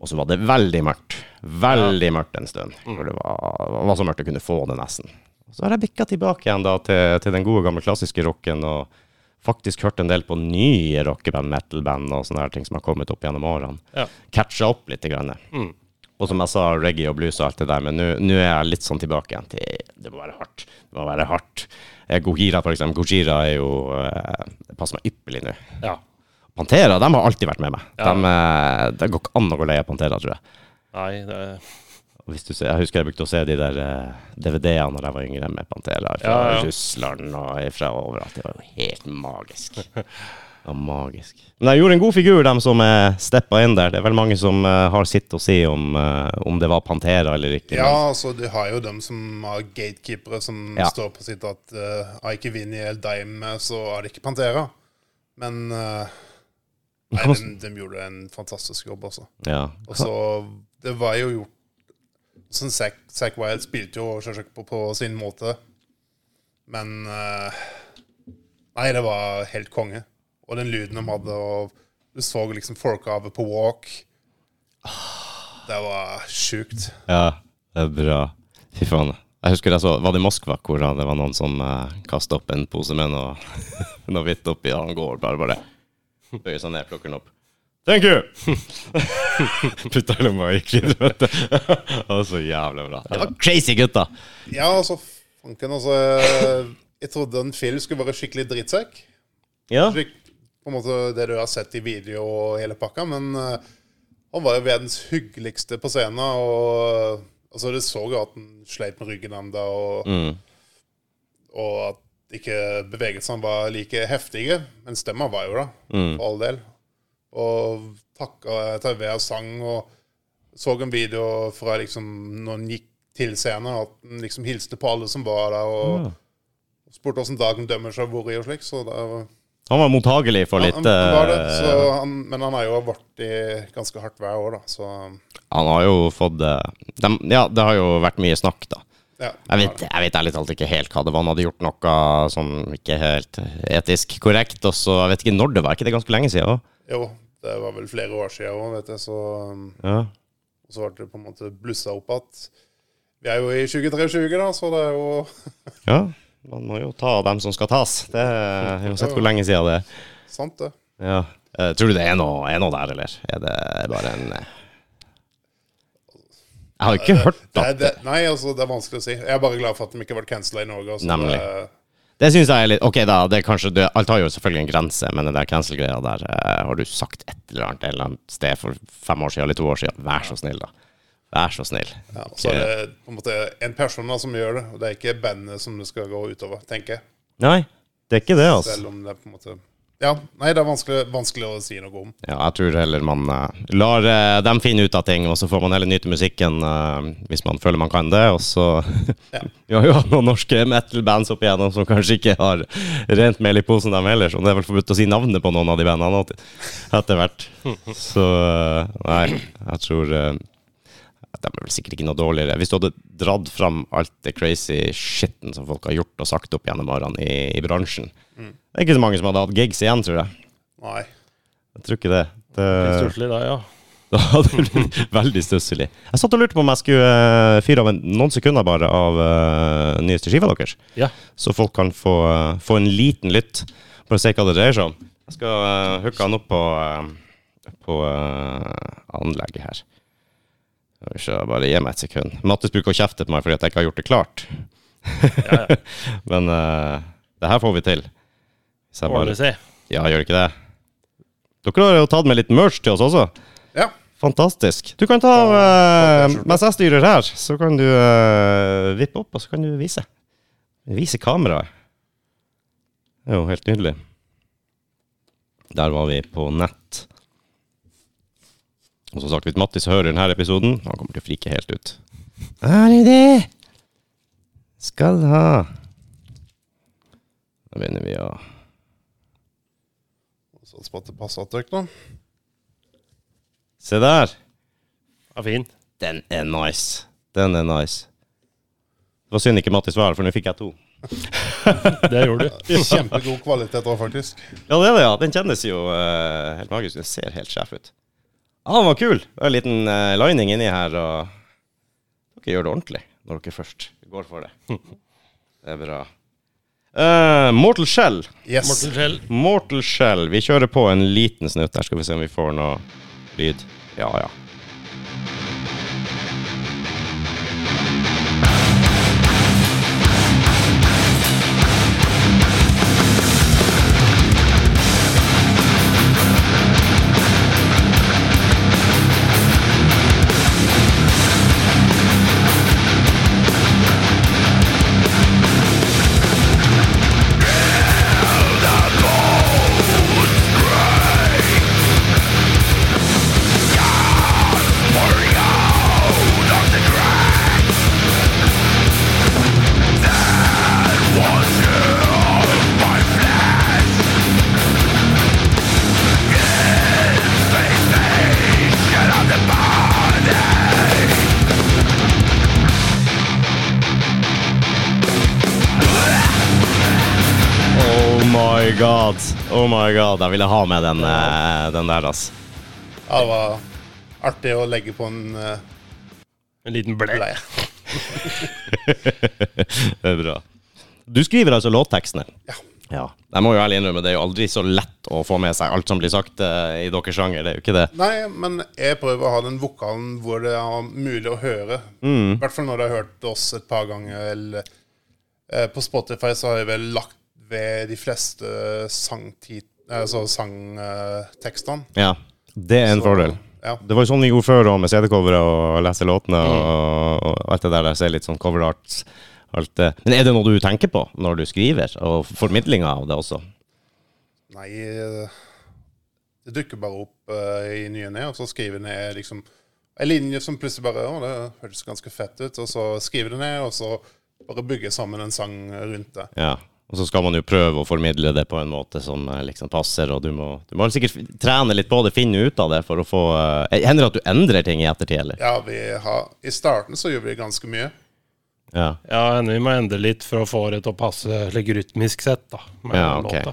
S1: Og så var det veldig mørkt. Veldig mørkt en stund. Hvor det var, det var så mørkt du kunne få det, nesten. Og så har jeg bikka tilbake igjen da til, til den gode, gamle klassiske rocken. og Faktisk hørt en del på nye rockeband, metalband og sånne her ting som har kommet opp gjennom årene.
S2: Ja.
S1: Catcha opp litt. Grann. Og som jeg sa, reggae og blues og alt det der, men nå- nå er jeg litt sånn tilbake igjen til Det må være hardt. Det må være hardt. Eh, Gojira, for eksempel. Gojira er jo eh, Det passer meg ypperlig nå.
S2: ja.
S1: Pantera de har alltid vært med meg. De, eh, det går ikke an å gå lei av Pantera, tror jeg.
S2: Nei, det
S1: Og Hvis du ser, jeg husker jeg brukte å se de der eh, DVD-ene når jeg var yngre, med Pantera fra
S2: Ja, ja.
S1: Russland og fra overalt. Det var jo helt magisk. Det var magisk. (laughs) Men jeg gjorde en god figur, dem som eh, steppa inn der. Det er vel mange som eh, har sitt å si om, eh, om det var Pantera eller ikke.
S3: Ja, altså du har jo dem som har gatekeepere som
S1: Ja.
S3: står på sitt at eh, har ikke Vinni eller Dime, eh, så har de ikke Pantera. Men eh, nei, de, de gjorde en fantastisk jobb, altså.
S1: Men, ja.
S3: Og så Det var jo gjort Sånn Zack, Zack Wild spilte jo selvsagt på, på sin måte, men eh, Nei, det var helt konge. Og den lyden de hadde, og du så liksom folkehavet på walk. Det var sjukt.
S1: Ja, det er bra. Fy faen. Jeg husker jeg så, var det i Moskva hvor det var noen som uh, kasta opp en pose med noe, (laughs) noe hvitt oppi, og han går bare bare bøyer seg ned, plukker den opp. Thank you! (laughs) Putta i lomma og gikk videre. vet du. (laughs) Det var så jævlig bra. Det var crazy, gutta!
S3: Ja, altså, fanken, altså Jeg trodde en film skulle være skikkelig drittsekk.
S1: Ja.
S3: Slik, på en måte det du har sett i video og hele pakka, men eh, han var jo verdens hyggeligste på scenen. Og altså, du så jo at han sleit med ryggen ennå, og, og at ikke bevegelsene var like heftige. Men stemma var jo det, for all del. Og takka TV og sang, og så en video fra liksom, når han gikk til scenen, og at han liksom hilste på alle som var der, og spurte åssen dagen dømmer seg, hvor i og slik. Så det var
S1: Han var mottagelig for litt
S3: han, han var det,
S1: eh,
S3: så han, men han har jo vært i ganske hardt hver år, da. Så
S1: Han har jo fått eh, dem- Ja, det har jo vært mye snakk, da.
S3: ja.
S1: Jeg vet, jeg vet ærlig talt ikke helt hva det var. Han hadde gjort noe som ikke helt etisk korrekt. Og så jeg vet ikke når det var. Er ikke det ganske lenge siden òg?
S3: Jo, det var vel flere år siden òg, vet jeg. Så, um,
S1: Ja.
S3: så ble det på en måte blussa opp at Vi er jo i 2023, da, så det er jo
S1: ja. Man må jo ta dem som skal tas. Det er Uansett hvor lenge siden det er.
S3: sant, det.
S1: Ja. Eh, tror du det er noe, er noe der, eller? Er det bare en eh? Jeg har jo ikke hørt
S3: Det,
S1: at
S3: er- det. Nei, altså, det er vanskelig å si. Jeg er bare glad for at de ikke ble cancela i Norge. Altså,
S1: Nemlig.
S3: Det,
S1: Det syns jeg er litt Ok, da. Det er kanskje, det, alt har jo selvfølgelig en grense, men den der cancel-greia der eh, Har du sagt et eller annet et eller annet sted for fem år siden eller to år siden? Vær så snill, da. Vær så snill.
S3: ja, så er det på en måte en person da, som gjør det, og det er ikke bandet som det skal gå utover, tenker jeg.
S1: Nei, det er ikke det, altså.
S3: Selv om det er på en måte Ja, nei, det er vanskelig, vanskelig å si noe om.
S1: Ja, jeg tror heller man eh, lar eh, dem finne ut av ting, og så får man heller nyte musikken eh, hvis man føler man kan det. Og så (laughs)
S3: Ja.
S1: Vi har jo hatt noen norske metal-bands opp igjennom som kanskje ikke har rent mel i posen, dem heller. Så det er vel forbudt å si navnet på noen av de bandene at- etter hvert. Så eh, nei, jeg tror eh, de er vel sikkert ikke noe dårligere. Hvis du hadde dratt fram alt det crazy shitten som folk har gjort og sagt opp gjennom årene i, i bransjen Det er ikke så mange som hadde hatt gigs igjen, tror jeg.
S3: Nei.
S1: Jeg tror ikke det. det
S2: Litt
S1: (laughs)
S2: stusslig da, ja.
S1: da hadde det blitt veldig stusslig. Jeg satt og lurte på om jeg skulle eh, fyre av en, noen sekunder bare av eh, nyeste skiva deres,
S2: Ja.
S1: så folk kan få, eh, få en liten lytt, bare se hva det dreier seg om. Jeg skal eh, hooke han opp på, eh, på eh, anlegget her. Skal vi se, Bare gi meg et sekund. Mattis bruker å kjefte på meg fordi at jeg ikke har gjort det klart. (laughs) Men eh, det her får vi til. Hvis jeg
S2: Ordentlig
S1: bare
S2: se.
S1: Ja, gjør ikke det? Dere har jo tatt med litt merch til oss også.
S3: Ja.
S1: Fantastisk. Du kan ta av eh, Mens jeg styrer her, så kan du eh, vippe opp, og så kan du vise. Vise kameraet. Det er jo helt nydelig. Der var vi på nett. Og som sagt, hvis Mattis hører denne episoden, han kommer til å frike helt ut. Er det det? Skal ha. Da begynner vi å
S3: Satser på at det passer at dere nå.
S1: Se der.
S2: Ja, fin.
S1: Den er nice. Den er nice. Det var synd ikke Mattis var her, for nå fikk jeg to.
S2: Det gjorde du.
S3: Kjempegod kvalitet òg, faktisk.
S1: Ja, det er det, ja. Den kjennes jo eh, helt magisk ut. Den ser helt sjef ut. Ja, ah, den var kul! Det var en liten eh, lining inni her, og dere gjør det ordentlig når dere først går for det. (laughs) Det er bra. Eh, Mortal Shell.
S3: Yes.
S2: Morten Schell.
S1: Mortal Shell. Vi kjører på en liten snutt her, skal vi se om vi får noe lyd. Ja, ja.
S4: Your
S1: my god. Oh my god. Jeg ville ha med den, eh, den der, altså.
S3: Ja, det var artig å legge på en eh,
S2: En liten blei.
S3: bleie.
S1: (laughs) Det er bra. Du skriver altså låttekstene.
S3: Ja.
S1: Ja. Jeg må jo ærlig innrømme, det er jo aldri så lett å få med seg alt som blir sagt eh, i deres sjanger. Det er jo ikke det.
S3: Nei, men jeg prøver å ha den vokalen hvor det er mulig å høre. I
S1: Mm.
S3: hvert fall når du har hørt oss et par ganger. Eller, eh, på Spotify så har jeg vel lagt ved de fleste sangtit- altså sangtekstene.
S1: Ja. Det er en fordel.
S3: Ja.
S1: Det var jo sånn vi gjorde før òg, med CD-covere og lese låtene og, og alt det der der. Ser litt sånn coverart. Alt det. Men er det noe du tenker på når du skriver, og formidlinga av det også?
S3: Nei, eh, det dukker bare opp eh, i ny og ne, og så skriver jeg ned liksom en linje som plutselig bare Å, det høres ganske fett ut. Og så skriver jeg det ned, og så bare bygger jeg sammen en sang rundt det.
S1: Ja. Og så skal man jo prøve å formidle det på en måte som eh, liksom passer, og du må, du må sikkert f- trene litt på det, finne ut av det for å få eh, Hender det at du endrer ting i ettertid, eller?
S3: Ja, vi har I starten så gjorde vi ganske mye.
S1: Ja.
S2: Ja, hender vi må endre litt for å få det til å passe litt rytmisk sett, da. Med
S1: Ja, ok.
S2: låta.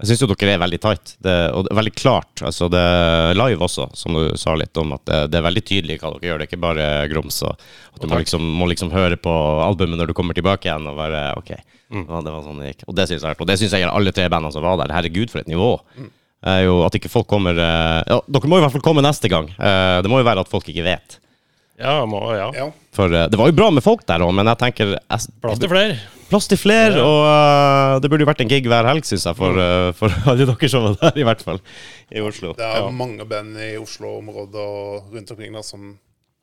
S1: Jeg syns jo dere er veldig tight, det, og det er veldig klart. Altså det er live også, som du sa litt om, at det, det er veldig tydelig hva dere gjør. Det er ikke bare grums. og At du må liksom, må liksom høre på albumet når du kommer tilbake igjen og bare OK. Ja, det var sånn det gikk. Og det syns jeg er- Og det syns jeg gjelder alle tre bandene som var der. Herregud, for et nivå. Er jo at ikke folk kommer eh, ja, Dere må i hvert fall komme neste gang. Eh, Det må jo være at folk ikke vet.
S2: Ja, må, ja.
S3: Ja.
S1: For eh, det var jo bra med folk der òg, men jeg tenker jeg,
S2: Plass til flere.
S1: Plass til flere, og øh, det burde jo vært en gig hver helg, syns jeg, for, øh, for (laughs) alle dere som var der, i hvert fall. I Oslo.
S3: Det er mange band i Oslo-området og rundt omkring der som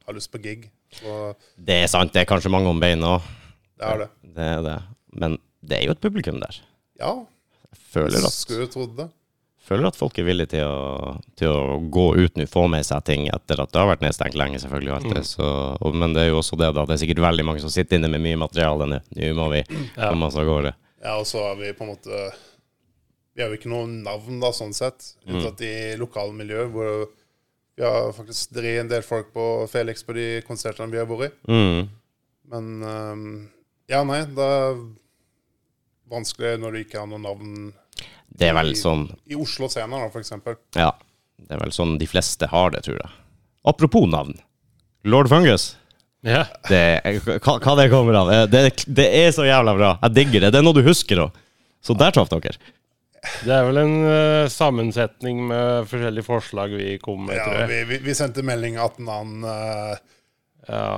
S3: har lyst på gig. Så
S1: Det er sant, det er kanskje mange om beina òg.
S3: det er det.
S1: Det er det. Men det er jo et publikum der.
S3: Ja,
S1: Jeg føler at,
S3: skulle jo trodd det.
S1: føler at folk er villige til å, til å gå ut nå, få med seg ting etter at det har vært nedstengt lenge, selvfølgelig. Og alt det. Så, og, men det er jo også det, da. Det er sikkert veldig mange som sitter inne med mye materiale nå. Nå må vi komme oss av gårde.
S3: Ja, og så har vi på en måte Vi har jo ikke noe navn, da, sånn sett. Unntatt
S2: Mm.
S3: i lokalmiljøet, hvor vi har faktisk drevet en del folk på Felix på de konsertene vi har vært i.
S1: Mm.
S3: Men ehm, ja, nei, det er vanskelig når du ikke har noe navn
S1: Det er vel sånn
S3: i Oslo Scena, da, for eksempel.
S1: Ja. Det er vel sånn de fleste har det, tror jeg. Apropos navn. Lord Fungus.
S2: Ja.
S1: Det, hva, hva det kommer av. Eh, Det, det er så jævla bra. Jeg digger det. Det er noe du husker òg. Så der traff dere.
S2: Det er vel en eh, sammensetning med forskjellige forslag vi kom med,
S3: Ja,
S2: tror jeg.
S3: vi, vi, vi sendte melding 18 an eh,
S2: Ja.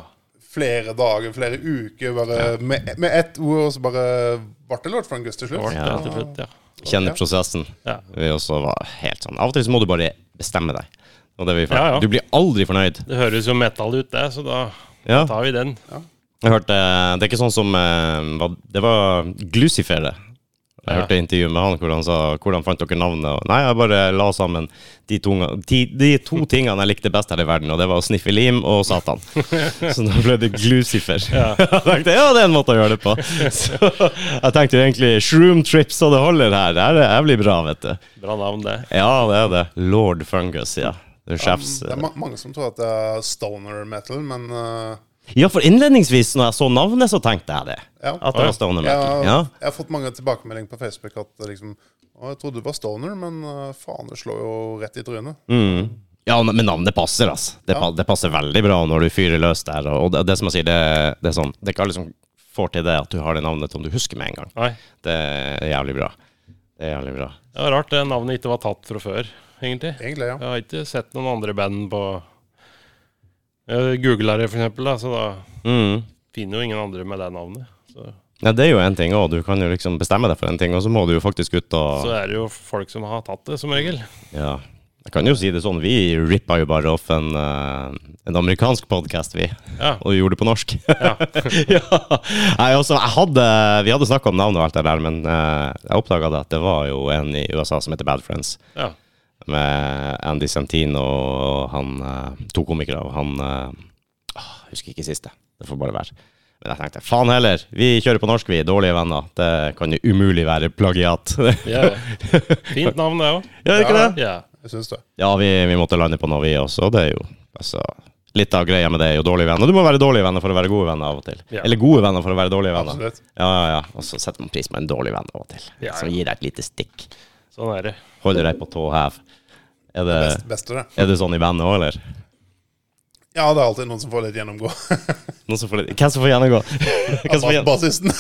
S3: flere dager, flere uker, bare med, med ett ord, og så bare ble det Lord Frangus til
S2: Det
S3: slutt.
S2: ble det til slutt, ja.
S1: Kjenner prosessen.
S2: Ja.
S1: Vi også var helt sånn Av og til så må du bare bestemme deg. Og det er vi for.
S2: Ja, ja.
S1: Du blir aldri fornøyd.
S2: Det høres jo metal ut, det, så da
S1: Ja.
S2: tar vi den.
S1: Jeg hørte Det er ikke sånn som eh, hva- Det var Glucifer, det. Jeg
S2: Ja.
S1: hørte intervju med han hvor han sa 'Hvordan fant dere navnet?' Og, Nei, jeg bare la sammen de to, de, de to tingene jeg likte best her i verden, og det var å sniffe lim og Satan. Så da ble det Glucifer. (laughs) Jeg tenkte, ja, det er en måte å gjøre det på. Så jeg tenkte jo egentlig Shroom trips og det holder her. Det her jeg blir bra, vet du.
S2: Bra navn, det.
S1: Ja, det er det. Lord Fungus, ja. Det er sjefs...
S3: Mm, Det er ma mange som tror at det er stoner metal, men eh,
S1: Ja, for innledningsvis, når jeg så navnet, så tenkte jeg det.
S3: Ja.
S1: At det var Stoner Metal.
S3: Jeg,
S1: Ja.
S3: jeg har fått mange tilbakemeldinger på Facebook at det liksom å, jeg trodde du var stoner, men eh, faen, det slår jo rett i trynet.
S1: Mm. Ja, men navnet passer, altså. Det, pa- det passer veldig bra når du fyrer løs der. Og og det, det som jeg sier, det, det er sånn Det er ikke alle som får til det at du har det navnet som du husker med en gang.
S2: Nei.
S1: Det er jævlig bra. Det er jævlig bra.
S2: Det var rart det navnet ikke var tatt fra før, egentlig.
S3: Egentlig, ja.
S2: Jeg har ikke sett noen andre band på Jeg googla det, for eksempel, da, så da
S1: Mm.
S2: finner jo ingen andre med det navnet. Så,
S1: Ja, det er jo en ting òg. Du kan jo liksom bestemme deg for en ting, og så må du jo faktisk ut
S2: så
S1: og
S2: er det jo folk som har tatt det, som regel.
S1: Ja. Jeg kan jo si det sånn, vi rippa jo bare off en, eh, en amerikansk podkast, vi.
S2: Ja.
S1: Og gjorde det på norsk.
S2: Ja.
S1: (laughs) ja. Nei, altså, jeg hadde, vi hadde snakka om navnet og alt det der, men eh, jeg oppdaga at det var jo en i USA som heter Bad Friends.
S2: ja.
S1: Med Andy Santino og han eh, to komikere og han eh, ah, Jeg husker ikke siste. Det får bare være. Men jeg tenkte faen heller, vi kjører på norsk, vi. Dårlige venner. Det kan jo umulig være plagiat. (laughs)
S2: ja. Fint navn, det òg.
S1: Gjør det ikke det?
S2: Ja.
S3: Jeg syns det.
S1: Ja, vi, vi måtte lande på noe, vi også. Det er jo altså Litt av greia med det er jo dårlige venner. Du må være dårlige venner for å være gode venner av og til.
S2: Ja.
S1: Eller gode venner for å være dårlige venner.
S3: Absolutt.
S1: Ja, ja, ja. Og så setter man pris på en dårlig venn av og til,
S2: Ja, ja.
S1: som gir deg et lite stikk.
S2: Sånn er det.
S1: Holder deg på tå hev. Er det,
S3: Best, beste det.
S1: er det sånn i bandet òg, eller?
S3: Ja, det er alltid noen som får litt
S1: (laughs)
S3: gjennomgå.
S1: Noen som får litt- Hvem som får gjennomgå? (laughs) Hvem som får
S3: Bas-
S1: gjennomgå?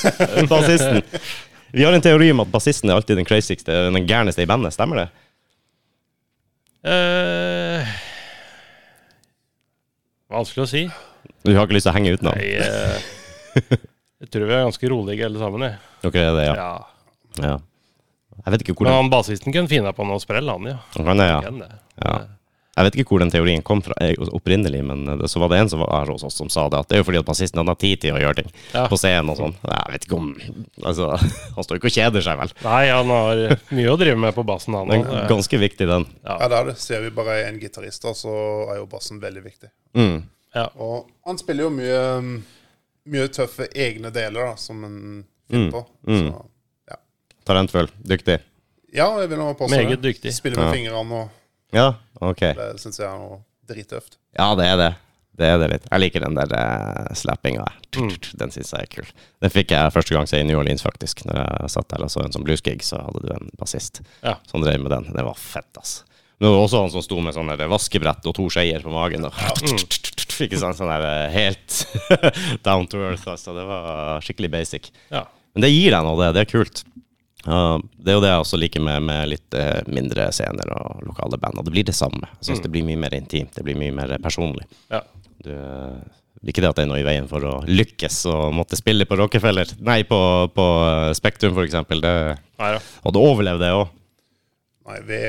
S3: Bassisten.
S1: Bassisten. Vi har en teori om at bassisten er alltid den crazyste, den gærneste i bandet. Stemmer det?
S2: Eh, vanskelig å si.
S1: Du har ikke lyst til å henge utenom?
S2: Jeg, eh, jeg tror vi er ganske rolige alle sammen, jeg.
S1: Dere er det, ja.
S2: Ja.
S1: ja. Jeg vet ikke hvor
S2: Men
S1: den,
S2: han basisten kunne finne på noe sprell, han, ja.
S1: han er, ja.
S2: Igjen, det.
S1: ja. Jeg vet ikke hvor den teorien kom fra eh, opprinnelig, men eh, så var det en som var her hos oss som sa det, at det er jo fordi at bassisten han har tid til å gjøre ting
S2: Ja.
S1: på scenen og sånn. Jeg vet ikke om Altså, (laughs) han står ikke og kjeder seg, vel.
S2: Nei, han har mye å drive med på bassen, han
S1: Den er
S2: òg.
S1: ganske viktig, den.
S3: Ja, det er det. Ser vi bare en gitarist, da, så er jo bassen veldig viktig.
S1: Mm.
S2: Ja.
S3: Og han spiller jo mye, um, mye tøffe egne deler, da, som en
S1: Mm.
S3: finner på. Så, ja.
S1: Talentfull. Dyktig.
S3: ja, jeg vil nå påstå
S2: Meget dyktig.
S3: Spiller med
S1: Ja.
S3: fingrene, og
S1: Ja, ok.
S3: det syns jeg er noe drittøft.
S1: Ja, det er det. Det er det litt. Jeg liker den der uh, slappinga. Den syns jeg er kul. Den fikk jeg første gang jeg i New Orleans, faktisk. Når jeg satt der og så en som bluesgig, så hadde du en bassist
S2: Ja.
S1: som drev med den. Det var fett, ass. Men det var også han som sto med sånn der vaskebrett og to skeier på magen. Og (laughs) Ikke sant, sånn der eh, helt (laughs) down to earth, altså. Det var skikkelig basic.
S2: Ja.
S1: Men det gir deg noe, det. Det er kult. Ja, det er jo det jeg også liker med, med litt eh, mindre scener og lokale band. Og det blir det samme. Jeg synes det blir mye mer intimt. Det blir mye mer personlig.
S2: ja.
S1: Du, eh, ikke det at det er noe i veien for å lykkes og måtte spille på Rockefeller. Nei, på, på eh, Spektrum, for eksempel. Det,
S2: Nei da.
S1: og du overlevde det òg.
S3: Nei, vi,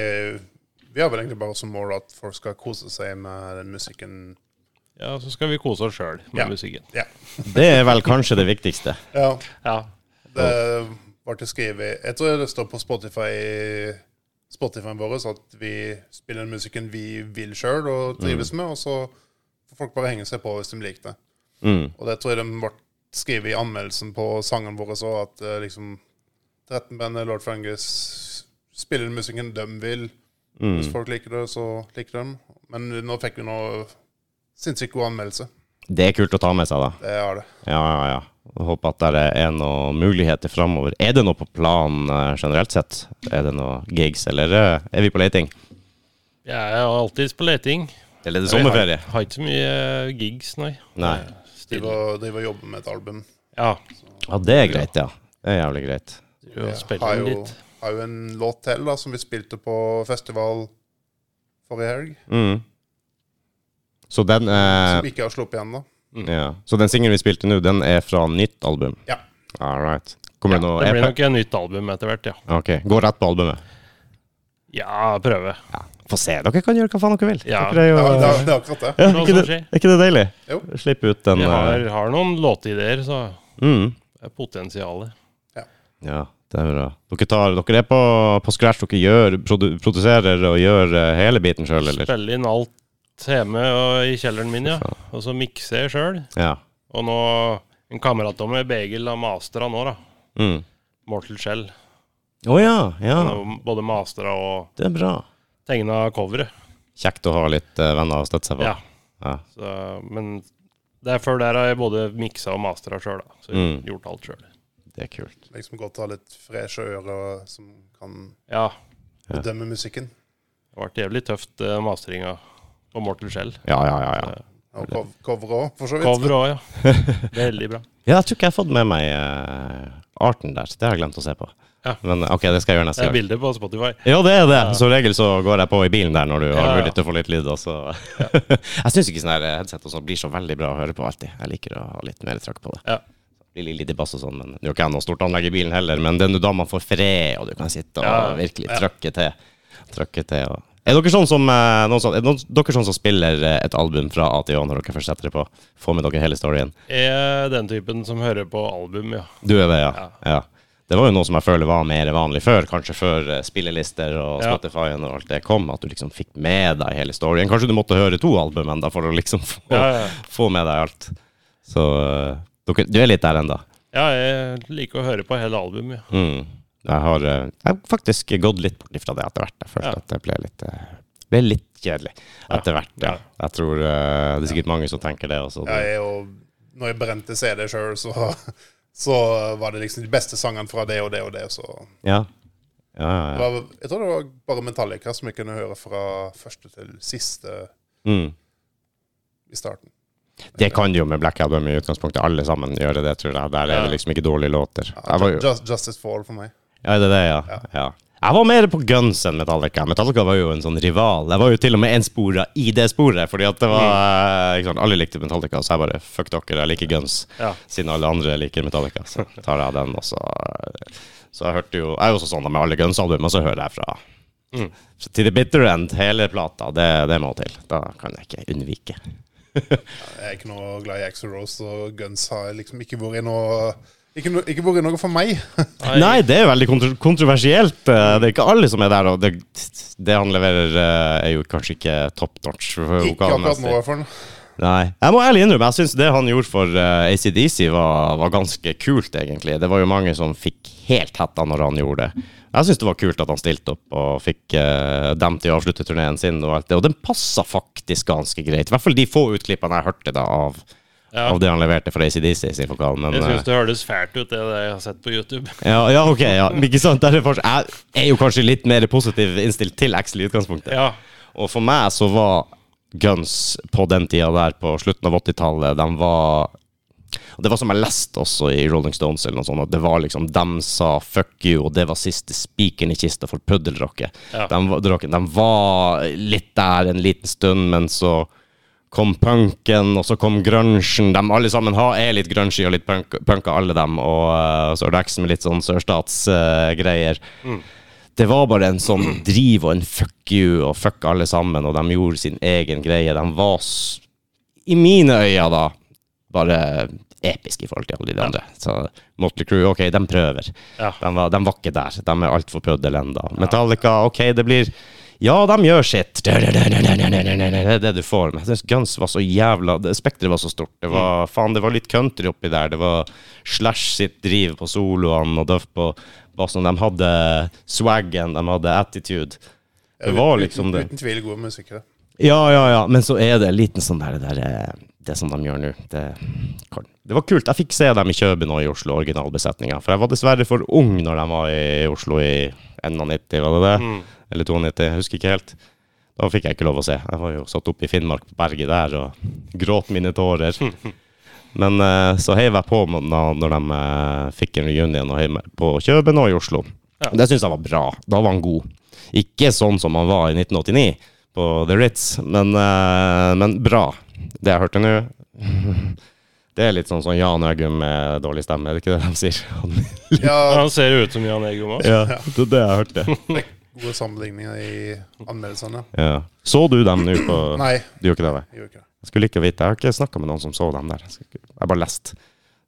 S3: vi har vel egentlig bare som mål at folk skal kose seg med den musikken.
S2: Ja, så skal vi kose oss sjøl med
S3: Ja.
S2: musikken.
S3: Ja.
S1: Det er vel kanskje det viktigste.
S3: ja.
S2: Ja.
S3: Det var til skrevet Jeg tror det står på Spotify Spotifyen vår at vi spiller den musikken vi vil sjøl og trives med, og så får folk bare henge seg på hvis de liker det.
S1: Mm.
S3: Og det tror jeg de ble skrevet i anmeldelsen på sangen vår også, at eh, liksom 13-bandet Lord Fungus spiller den musikken de vil. Hvis folk liker det, så liker de. Men nå fikk vi noe sinnssykt god anmeldelse.
S1: Det er kult å ta med seg, da.
S3: Det er det.
S1: Ja, ja, ja. Jeg Håper at det er noen muligheter framover. Er det noe på planen eh, generelt sett? Er det noe gigs, eller eh, er vi på leting?
S2: Jeg er alltids på leting.
S1: Eller er det sommerferie?
S2: Jeg Har, har ikke så mye eh, gigs, nei.
S1: Nei.
S2: Stille.
S3: Driver driver og jobber med et album.
S2: Ja.
S1: Ja, det er greit, ja. Det er jævlig greit.
S2: driver og
S3: har
S2: Spiller
S3: jo,
S2: litt.
S3: har jo en låt til da, som vi spilte på festival forrige helg.
S1: Mm. Så den eh,
S3: Som vi ikke har sluppet igjen da.
S1: Ja. Så den singelen vi spilte nå, den er fra nytt album?
S3: Ja.
S1: All right. Kommer det noe E
S2: Det blir
S1: EP?
S2: nok et nytt album etter hvert, ja.
S1: Ok, Gå rett på albumet.
S2: Ja, prøve.
S1: Ja. Få se. Dere kan gjøre hva faen dere vil.
S2: Ja.
S1: Dere er jo,
S3: Ja, det,
S1: ja,
S3: er- det er akkurat det.
S1: er ikke, det, er ikke det deilig?
S3: Jo.
S1: Slipp ut den
S2: Jeg
S1: eh,
S2: har, har noen låtideer, så
S1: mm.
S2: det er potensialet.
S1: Ja, det er bra. Dere, tar, dere er på, på scratch. Dere gjør, produ, produserer og gjør eh, hele biten sjøl, eller?
S2: Spille inn alt hjemme og i kjelleren min, ja. Og så mikse jeg sjøl.
S1: Ja.
S2: Og nå En kamerat av meg, Begil, har mastra nå, da.
S1: Å mm.
S2: Mortal Shell.
S1: Å ja, ja.
S2: Han har Både mastra og
S1: Det er bra.
S2: tegna coveret.
S1: Kjekt å ha litt eh, venner å støtte seg på.
S2: Ja.
S1: Ja.
S2: Så, men det er før der har jeg både miksa og mastra sjøl, da. Så jeg har
S1: Mm.
S2: gjort alt sjøl.
S1: Det er kult.
S3: Liksom godt å ha litt freshe ører som kan
S2: Ja.
S1: Ja.
S3: bedømme musikken.
S2: Det ble jævlig tøft, eh, mastringa på Mortal Shell.
S1: Ja, ja, ja. ja.
S3: Og cov- cover òg, for så vidt.
S2: Cover òg,
S1: (laughs)
S2: ja. Veldig bra.
S1: Ja, jeg tror ikke jeg har fått med meg eh, arten der. Det har jeg glemt å se på.
S2: Ja.
S1: Men eh, ok, det skal jeg gjøre
S2: Det
S1: neste
S2: er
S1: gang.
S2: bilder på Spotify.
S1: Ja, det er det. Som regel så går jeg på i bilen der når du har
S2: Ja, ja.
S1: mulighet til å få litt lyd. og så- (laughs) jeg syns ikke sånne her eh, headset og sånt blir så veldig bra å høre på alltid. Jeg liker å ha litt mer trøkk på det.
S2: Ja.
S1: Det blir litt lite bass og sånn, men det er jo ikke jeg noe stort anlegg i bilen heller. Men det er jo da man får fred, og du kan sitte og
S2: Ja,
S1: virkelig trøkke til. Trøkke til og er dere sånn som, eh, noen som, er noen, dere sånn som spiller eh, et album fra A til Å når dere først setter det på? Får med dere hele storyen?
S2: Er den typen som hører på album, ja.
S1: Du er det, ja. ja. Det var jo noe som jeg føler var mer vanlig før, kanskje før eh, spillelister og
S2: Ja.
S1: Spotify og alt det kom, at du liksom fikk med deg hele storyen. Kanskje du måtte høre to album enda for å liksom få,
S2: Ja, ja.
S1: få med deg alt. Så eh, dere, du er litt der enda.
S2: Ja, jeg liker å høre på hele album, ja.
S1: Mm. Jeg har eh, jeg har faktisk gått litt bort ifra det etter hvert. Jeg følte
S2: Ja.
S1: at det ble litt eh, ble litt kjedelig etter hvert. Ja.
S2: Ja.
S1: Jeg tror eh, det er sikkert mange som tenker det. Også.
S3: Jeg er jo, når jeg brente CD sjøl, så, (laughs) så var det liksom de beste sangene fra det og det og det. Så
S1: Ja. Ja, ja,
S3: det
S1: ja.
S3: var, jeg tror det var bare Metallica som jeg kunne høre fra første til siste
S1: Mm.
S3: i starten.
S1: Det kan jo med Black Album i utgangspunktet alle sammen gjøre det, tror jeg. Der er det liksom ikke dårlige låter.
S3: Ja,
S1: Jeg var jo,
S3: Just, Justice Fall for meg.
S1: ja, det er det, ja. ja. Jeg var mer på Guns enn Metallica. Metallica var jo en sånn rival. Jeg var jo til og med en spora i det sporet, fordi at det var eh, ikke sant, Alle likte Metallica, så jeg bare fuck dere, jeg liker Guns.
S2: Ja.
S1: Siden alle andre liker Metallica, så tar jeg den, og så eh, Så jeg hørte jo Jeg er jo også sånn da med alle Guns-album, og så hører jeg fra så til the bitter end, hele plata. Det, det må til. Da kan jeg ikke unnvike.
S3: Jeg er ikke noe glad i Axel Rose, og Guns har liksom ikke vært noe ikke, no, ikke vært noe for meg. (laughs)
S1: Nei, det er veldig kontro kontroversielt. Eh, Det er ikke alle som er der, og det, det han leverer, eh, er jo kanskje ikke top notch
S3: Ikke akkurat nå, i
S1: vokalmessig.
S3: hvert fall.
S1: Nei. Jeg må ærlig innrømme, jeg syns det han gjorde for eh, ACDC, var, var ganske kult, egentlig. Det var jo mange som fikk helt hetta når han gjorde det. Jeg syns det var kult at han stilte opp og fikk eh, dem til å avslutte turneen sin, og alt det. Og den passa faktisk ganske greit. I hvert fall de få utklippene jeg hørte da av,
S2: Ja.
S1: av det han leverte for ACDC sin vokal. Men,
S2: Jeg
S1: eh,
S2: syns det høres fælt ut, det, det jeg har sett på
S1: (laughs)
S2: YouTube.
S1: ja, ja, ok, ja. Men Ikke sant? Der er forskjell. jeg er jo kanskje litt mer positiv innstilt til Axel i utgangspunktet.
S2: Ja.
S1: Og for meg så var Guns på den tida der, på slutten av 80-tallet, de var og Det var som jeg leste også i Rolling Stones, eller noe sånt, at det var liksom dem sa 'fuck you', og det var siste spikeren i kista for puddelrocket.
S2: Ja.
S1: De, var- draken- de var litt der en liten stund, men så kom punken, og så kom grunchen. De alle sammen har, er litt grungy og litt punk, punka, alle dem. Og eh, så er det X med litt sånn sørstatsgreier. Det var bare en sånn driv og en fuck you og fuck alle sammen, og de gjorde sin egen greie. De var, s- i mine øyne da, bare episk i forhold til alle de andre. Så Motley Crue, ok, de prøver.
S2: Ja.
S1: De var, de var ikke der. De er altfor puddel ennå. Metallica, ok, det blir Ja, de gjør sitt. Det er det du får. Men jeg syns Guns var så jævla det- Spekteret var så stort. Det var, faen, det var litt country oppi der. Det var Slash sitt driv på soloene og Duff på bassen. De hadde swaggen, de hadde attitude. Det var liksom det.
S3: Uten tvil god musikk.
S1: (laughs)
S3: det.
S1: Ja, ja, ja. Men så er det en liten sånn der, det, der, eh, det som de gjør nå. Det, kan- det var kult. Jeg fikk se dem i København og i Oslo, originalbesetninga. For jeg var dessverre for ung når de var i Oslo i 91, var det det? Eller 92, jeg husker ikke helt. Da fikk jeg ikke lov å se. Jeg var jo satt oppe i Finnmark på berget der og gråt mine tårer. Men eh, så heiv jeg på med- na- når de eh, fikk en reunion og heiv meg på Kjøben og i Oslo. Det syns jeg var bra. Da var han god. Ikke sånn som han var i 1989 på The Ritz, men, eh, men bra. Det jeg hørte nå (laughs) Det er litt sånn som Jan Øgum med dårlig stemme, er det ikke det de sier? (laughs)
S3: Ja,
S2: Han ser jo ut som Jan Egum også.
S1: ja, det er det jeg hørte.
S3: gode sammenligninger i anmeldelsene.
S1: Ja. Så du dem nå på
S3: Nei,
S1: Du gjorde ikke det? Nei.
S3: jeg gjorde ikke det.
S1: Jeg skulle likt å vite, jeg har ikke snakka med noen som så dem der. Jeg skulle ikke- Jeg bare lest.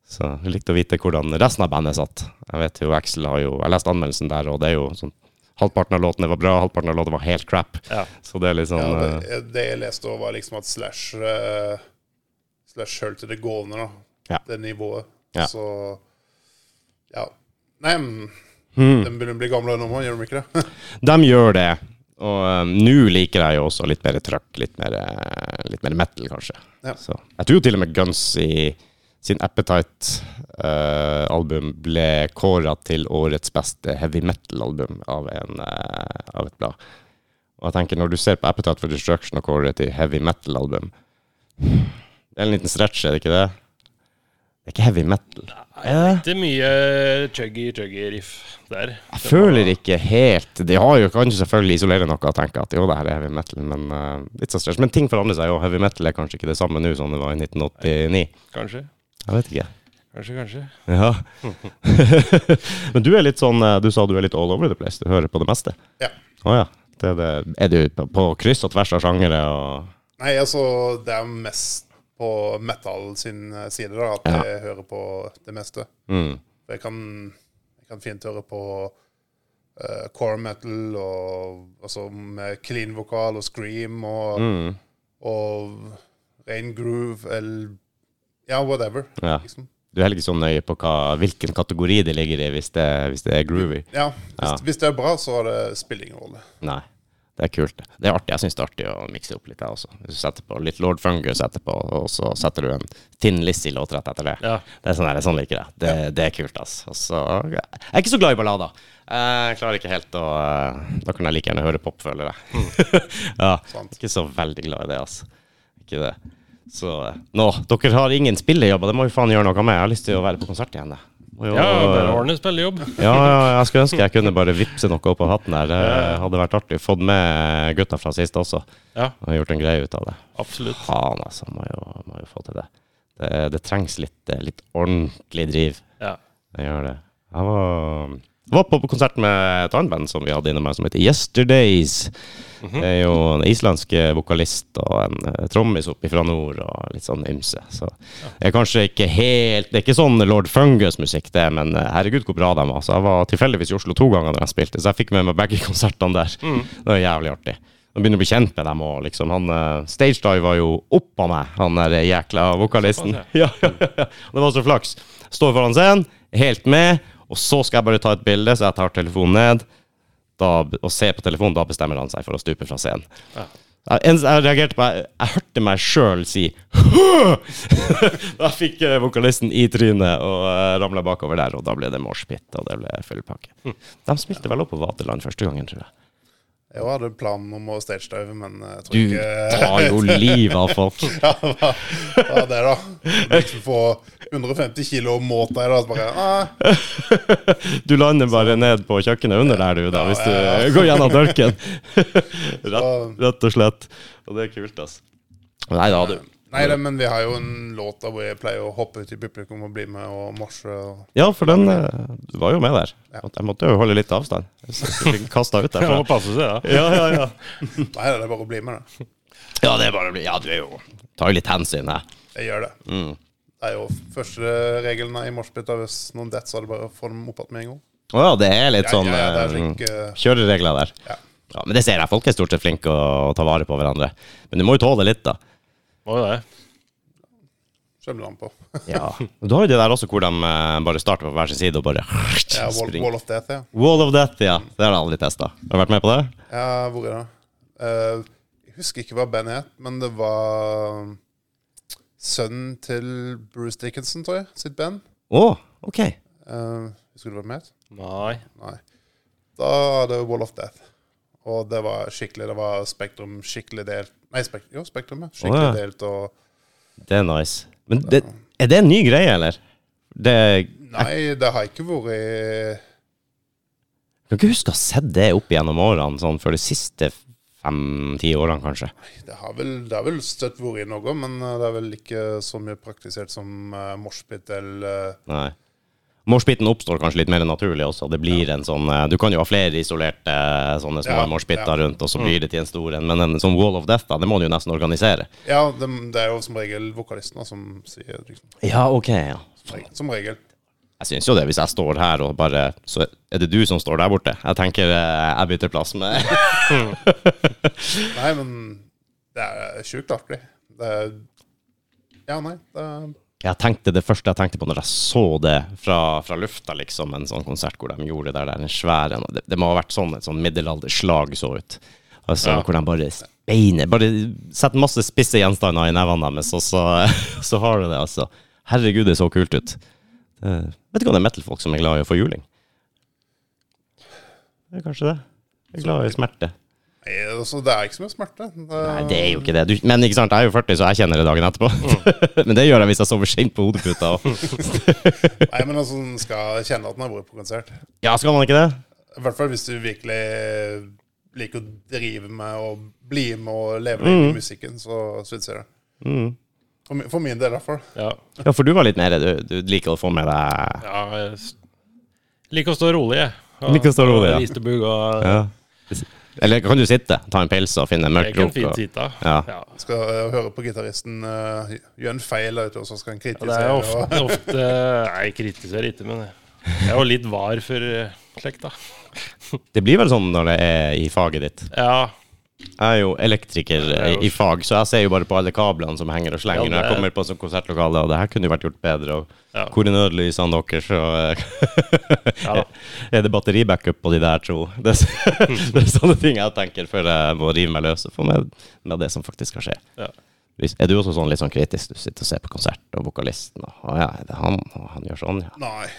S1: Så jeg likte å vite hvordan resten av bandet satt. Jeg vet jo, Axel har jo Jeg leste anmeldelsen der, og det er jo sånn Halvparten av låtene var bra, halvparten av låtene var helt crap.
S2: Ja.
S1: Så det er litt sånn
S3: Ja,
S1: eh,
S3: det, det jeg leste òg, var liksom at Slash eh, Slash holdt det gående, da.
S1: Ja.
S3: Det nivået.
S1: Ja.
S3: Så Ja. Nei, men
S1: hmm.
S3: den begynner å bli gamle nå, gjør de ikke det? (laughs)
S1: De gjør det. Og eh, nå liker jeg jo også litt mer trøkk, litt mer, eh, litt mer metal, kanskje.
S3: Ja.
S1: Så, jeg tror jo til og med Guns i sin Appetite-album ble kåra til årets beste heavy metal-album av, en, eh, av et blad. Og jeg tenker, når du ser på Appetite for Destruction og kårer det til heavy metal-album Det er en liten stretch, er det ikke det? Det er ikke heavy metal. Eh?
S2: Det er mye eh, chuggy-chuggy-riff der.
S1: Jeg føler ikke helt De har jo kanskje selvfølgelig isolere noe og tenke at jo, det her er heavy metal, men eh, litt så stress. Men ting forandrer seg jo. Heavy metal er kanskje ikke det samme nå som det var i 1989.
S2: Kanskje.
S1: Jeg vet ikke.
S2: Kanskje, kanskje.
S1: Ja. (laughs) men du er litt sånn eh, Du sa du er litt all over the place. Du hører på det meste.
S3: Ja.
S1: Å ja. Det er, det. er du på, på kryss og tvers av sjangere og
S3: Nei, altså, det er mest på metal sin eh, side, da, at jeg hører på det meste.
S1: mm.
S3: For jeg kan, jeg kan fint høre på eh, core metal og altså med clean vokal og scream og,
S1: Mm.
S3: og rein groove eller Ja, whatever.
S1: Ja.
S3: Liksom.
S1: Du er heller ikke så nøye på hva, hvilken kategori det ligger i, hvis det, hvis det er groovy.
S3: Ja, hvis, hvis det er bra, så er det spiller ingen rolle.
S1: Nei. Det er kult. Det er artig. Jeg syns det er artig å mikse opp litt, jeg også. Hvis du setter på litt Lord Fungus etterpå, og så setter du en Tinn Lizzie-låt rett etter det.
S2: Ja.
S1: Det er sånn, der, sånn liker jeg. Det, det er kult, ass. Og så- jeg er ikke så glad i ballader. Jeg klarer ikke helt å eh, Da kan jeg like gjerne høre pop, føler jeg.
S2: Mm.
S1: (laughs) ja,
S3: Sant.
S1: ikke så veldig glad i det, altså. Ikke det. Så eh, nå, dere har ingen spillejobber, det må vi faen gjøre noe med. Jeg har lyst til å være på konsert igjen, jeg. Må jo-
S2: Ja, bare ordne spillejobb.
S1: ja, ja, jeg skulle ønske jeg kunne bare vippse noe opp av hatten her. Det hadde vært artig. Fått med gutta fra sist også.
S2: Ja,
S1: Og gjort en greie ut av det.
S2: absolutt.
S1: Faen, altså. Må jo, må jo få til det. Det, det trengs litt, eh, litt ordentlig driv.
S2: Ja.
S1: Det gjør det. Jeg var, var på, på konsert med et annet band som vi hadde innom her, som heter Yesterdays. Det er jo en islandsk eh, vokalist og en eh, trommis oppe fra nord og litt sånn ymse. Så det er kanskje ikke helt Det er ikke sånn Lord Fungus-musikk, det, men eh, herregud, hvor bra de var. Så jeg var tilfeldigvis i Oslo to ganger da de spilte, så jeg fikk med meg begge (laughs) konsertene der. Det var jævlig artig. Nå begynner å bli kjent med dem òg, liksom. Han eh, stagediva jo opp av meg, han der jækla vokalisten.
S2: Såpass,
S1: (laughs) Ja, ja, ja, ja. Det var så flaks. Står foran scenen, helt med, og så skal jeg bare ta et bilde, så jeg tar telefonen ned da, og ser på telefonen. Da bestemmer han seg for å stupe fra scenen.
S2: Ja.
S1: Jeg, eneste jeg reagerte på Jeg, jeg hørte meg sjøl si «Hø!» (laughs) Da fikk eh, vokalisten i trynet og uh, ramla bakover der, og da ble det moshpit, og det ble full pakke. De spilte vel opp på Vaterland første gangen, tror jeg.
S3: Jeg hadde planen om å stagedive, men eh, jeg tror
S1: Du
S3: ikke (laughs)
S1: tar jo livet av folk.
S3: Ja, det var, det var det, da. Liksom få 150 kilo målt deg, da. Så bare ah,
S1: Du lander bare ned på kjøkkenet under der, du, da, hvis du går gjennom dørken. (laughs) rett, rett og slett. Og det er kult, ass. Nei da, du.
S3: Nei da, men vi har jo en låt der hvor jeg pleier å hoppe ut i publikum og bli med og morse. og-
S1: Ja, for den eh, Du var jo med der. Og Jeg måtte jo holde litt avstand. Jeg fikk kasta ut
S3: (laughs)
S2: Det
S1: derfra.
S2: må passe seg, da.
S1: (laughs) Ja, ja, ja.
S3: Nei da, det er bare å bli med, da.
S1: Ja, det er bare å bli Ja, du er jo Tar jo litt hensyn, jeg.
S3: Jeg gjør
S1: (laughs)
S3: det.
S1: Mm.
S3: Det er jo første reglene i morsbita. Hvis noen detter, så er det bare å få dem opp igjen med en gang.
S1: Å ja, det er litt
S3: Ja,
S1: sånn
S3: ja, ja, det er
S1: eh,
S3: slik, eh,
S1: kjøreregler der.
S3: Ja.
S1: Ja, Men det ser jeg. Folk er stort sett flinke å ta vare på hverandre. Men du må jo tåle litt, da.
S2: Må jo det.
S3: Skjønner han på. (laughs)
S1: Ja. Du har jo det der også hvor de eh, bare starter på hver sin side og bare
S3: Ja, wall,
S1: springer.
S3: wall of Death, ja.
S1: Wall of Death, ja. Det har jeg aldri testa. Har du vært med på det?
S3: ja hvor er det? Eh, jeg husker ikke hva bandet het, men det var um, sønnen til Bruce Dickinson, tror jeg, sitt band.
S1: Å, ok.
S3: Eh, husker du hva det het?
S2: Nei.
S3: Nei. Da er det Wall of Death. Og det var skikkelig Det var Spektrum skikkelig delt Nei, spek jo, Spektrum, ja. Skikkelig
S1: Å, ja.
S3: delt og
S1: Det er nice. Men det, er det en ny greie, eller? Det jeg
S3: Nei, det har ikke vært i
S1: kan ikke huske å ha sett det opp gjennom årene, sånn for de siste fem-ti årene, kanskje.
S3: Det har vel, det har vel støtt vært i noe, men eh, det er vel ikke så mye praktisert som uh, moshpit eller eh,
S1: Nei. Moshpiten oppstår kanskje litt mer naturlig også. Det blir en sånn eh, Du kan jo ha flere isolerte eh, sånne små
S3: Ja,
S1: moshpiter
S3: ja.
S1: rundt, og så blir det til en stor en. Men en sånn Wall of Death, da, det må du jo nesten organisere.
S3: Ja, det, det er jo som regel vokalistene som sier det, liksom.
S1: Ja, ok, ja.
S3: Som regel. Som regel.
S1: Jeg syns jo det, hvis jeg står her og bare Så er det du som står der borte. Jeg tenker eh, jeg bytter plass med
S3: Nei, men det er sjukt artig. Det er Ja, nei. Det er,
S1: Jeg tenkte Det første jeg tenkte på når jeg så det fra, fra lufta, liksom, en sånn konsert hvor de gjorde det der, den svære det, det må ha vært sånn et sånn middelalderslag så ut. Altså, Hvor de bare speiner Bare setter masse spisse gjenstander i nevene deres, og så, (laughs) så har du det, altså. Herregud, det så kult ut. Det, vet du hva det er metal-folk som er glad i å få juling? Det er kanskje det. De er glad i smerte.
S3: nei, altså, det er ikke så mye smerte. Det,
S1: Nei, det er jo ikke det. Du, men ikke sant, jeg er jo 40, så jeg kjenner det dagen etterpå. (laughs) men det gjør jeg hvis jeg sover sent på hodeputa. Og,
S3: Nei, men altså, en skal kjenne at den har vært på konsert.
S1: ja, skal man ikke det?
S3: I hvert fall hvis du virkelig liker å drive med og bli med og leve deg inn
S1: Mm.
S3: i musikken, så syns jeg det. For, min, for min del, i hvert fall.
S2: Ja.
S1: Ja, for du var litt mer Du, du liker å få med deg
S2: ja jeg s- liker å stå rolig, jeg. Og-
S1: Liker å stå rolig, ja.
S2: og Listebugg og
S1: ja. Eller kan du sitte, ta en pils og finne en
S2: Jeg
S1: mørk
S2: kan
S1: krok?
S2: fint
S1: og-
S2: sitte.
S1: Ja.
S2: Ja.
S3: Skal eh, høre på gitaristen eh, gjøre en feil, vet du, og så skal han
S2: Og Det er
S3: kritisere.
S2: jo
S3: og-
S2: ofte, ofte Nei, jeg kritiserer ikke, men jeg- jeg er jo litt var for eh, slekt, da. (laughs)
S1: Det blir vel sånn når det er i faget ditt.
S2: Ja.
S1: Jeg er jo elektriker eh, i fag, så jeg ser jo bare på alle kablene som henger og slenger
S2: Ja,
S1: når jeg
S2: det-
S1: kommer på sånn konsertlokale, og det her kunne jo vært gjort bedre. Og
S2: Ja.
S1: hvor er nødlysene deres, og eh,
S2: Ja da.
S1: er det batteribackup på de der, tro? (laughs) Det, er så-
S2: (laughs)
S1: det er sånne ting jeg tenker før jeg må rive meg løs og få med, med det som faktisk skal skje.
S2: Ja.
S1: Hvis- Er du også sånn litt sånn kritisk? Du sitter og ser på konsert, og vokalisten og Å ja, er det han? Og han gjør sånn, ja.
S3: (laughs) Nei.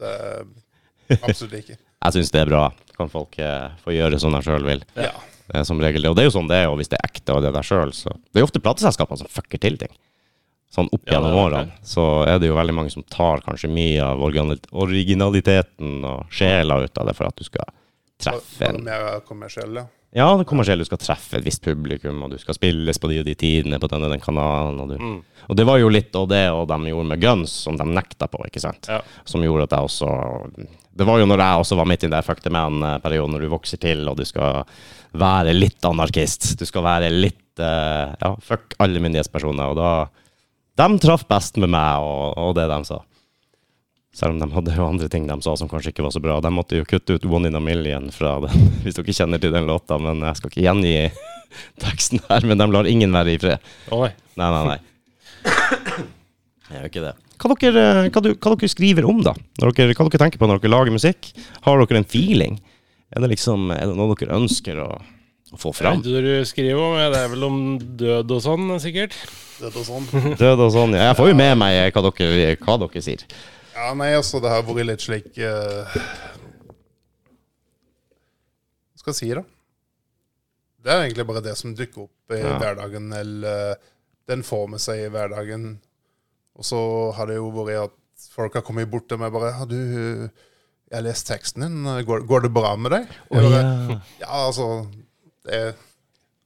S3: Det er absolutt
S2: (laughs)
S3: ikke.
S1: Jeg syns det er bra. Kan folk eh, få gjøre som de sjøl vil.
S3: Ja.
S1: Det er som regel det. Og det er jo sånn det er, og hvis det er ekte og det der sjøl, så Det er jo ofte plateselskapene som fucker til ting. Sånn opp
S2: Ja, det er
S1: gjennom
S2: nok
S1: årene så er det jo veldig mange som tar kanskje mye av origina- originaliteten og sjela ut av det for at du skal treffe
S3: Bare
S1: en
S3: mer kommersiell, ja.
S1: Ja, det kommersielle. Du skal treffe et visst publikum, og du skal spilles på de og de tidene på den og den kanalen. Og, du. og det var jo litt av det og de gjorde med Guns, som de nekta på, ikke sant.
S2: Ja.
S1: Som gjorde at jeg også Det var jo når jeg også var midt i den der fuck the man-perioden, når du vokser til og du skal være litt anarkist. Du skal være litt eh, Ja, fuck alle myndighetspersoner. Og da De traff best med meg og, og det de sa. Selv om de hadde jo andre ting de sa som kanskje ikke var så bra. De måtte jo kutte ut One in a Million fra den, (laughs) hvis dere kjenner til den låta. Men jeg skal ikke gjengi (laughs) teksten her, men de lar ingen være i fred.
S2: Å nei.
S1: Nei, nei, nei. Jeg gjør ikke det. Hva dere, hva, du, hva dere skriver om, da? Når dere, hva dere tenker på når dere lager musikk? Har dere en feeling? Er det liksom er det noe dere ønsker å, å få fram?
S2: Det du skriver om, ja, det er vel om død og sånn, sikkert.
S3: Det er sånn.
S1: Død og sånn. Ja, jeg får jo med meg hva dere, eh, hva dere sier.
S3: Ja, nei, altså, det har vært litt slik eh, Hva skal jeg si, da? Det er egentlig bare det som dukker opp i
S1: Ja.
S3: hverdagen, eller eh, den får med seg i hverdagen. Og så har det jo vært at folk har kommet bort til meg bare Har du eh, Jeg har lest teksten din. Går, går det bra med deg? Jeg bare, ja, altså Det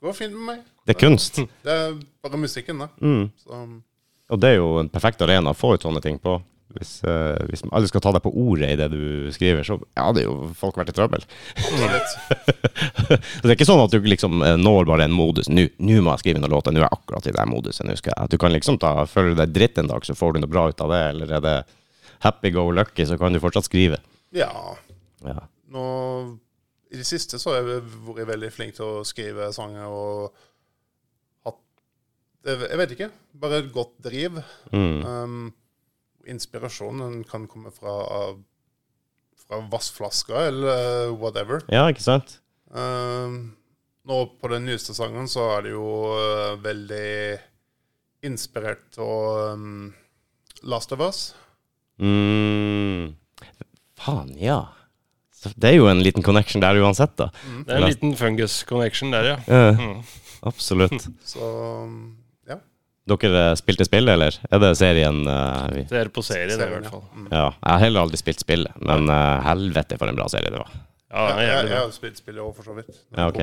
S3: går fint med meg.
S1: Det er kunst.
S3: Det er bare musikken, da.
S1: Mm.
S3: Så,
S1: Og det er jo en perfekt arena å få ut sånne ting på. Hvis, eh, hvis alle skal ta deg på ordet i det du skriver, så ja, hadde jo folk vært i trøbbel.
S3: absolutt.
S1: Så det er ikke sånn at du liksom eh, når bare en modus. Nå nå må jeg skrive noen låter, nå er jeg akkurat i den modusen. Nå skal jeg. Du kan liksom ta, føler du deg dritt en dag, så får du noe bra ut av det. Eller er det happy go lucky, så kan du fortsatt skrive.
S3: Ja.
S1: Ja.
S3: nå I det siste så har jeg vært veldig flink til å skrive sanger og hatt Jeg jeg vet ikke. Bare et godt driv.
S1: Mm.
S3: Um, inspirasjonen kan komme fra, fra vassflasker eller uh, whatever.
S1: ja, ikke sant?
S3: Um, nå på den nyeste sangen så er det jo uh, veldig inspirert av um, Last of Us.
S1: Mm. Faen, ja. Så Det er jo en liten connection der uansett, da.
S2: Det er en liten fungus connection der, ja.
S1: Eh,
S2: Mm.
S1: absolutt.
S3: Så um, ja.
S1: Dere eh, spilte spill, eller? Er det serien eh, vi
S2: Det er på serie, det, i hvert fall.
S3: Mm.
S1: Ja, jeg har heller aldri spilt spillet, men eh, helvete for en bra serie det var.
S3: Jeg,
S2: Ja, det er
S3: jeg,
S2: jævlig
S3: jeg
S2: bra.
S3: har spilt spillet òg, for så vidt.
S1: Ja, ok.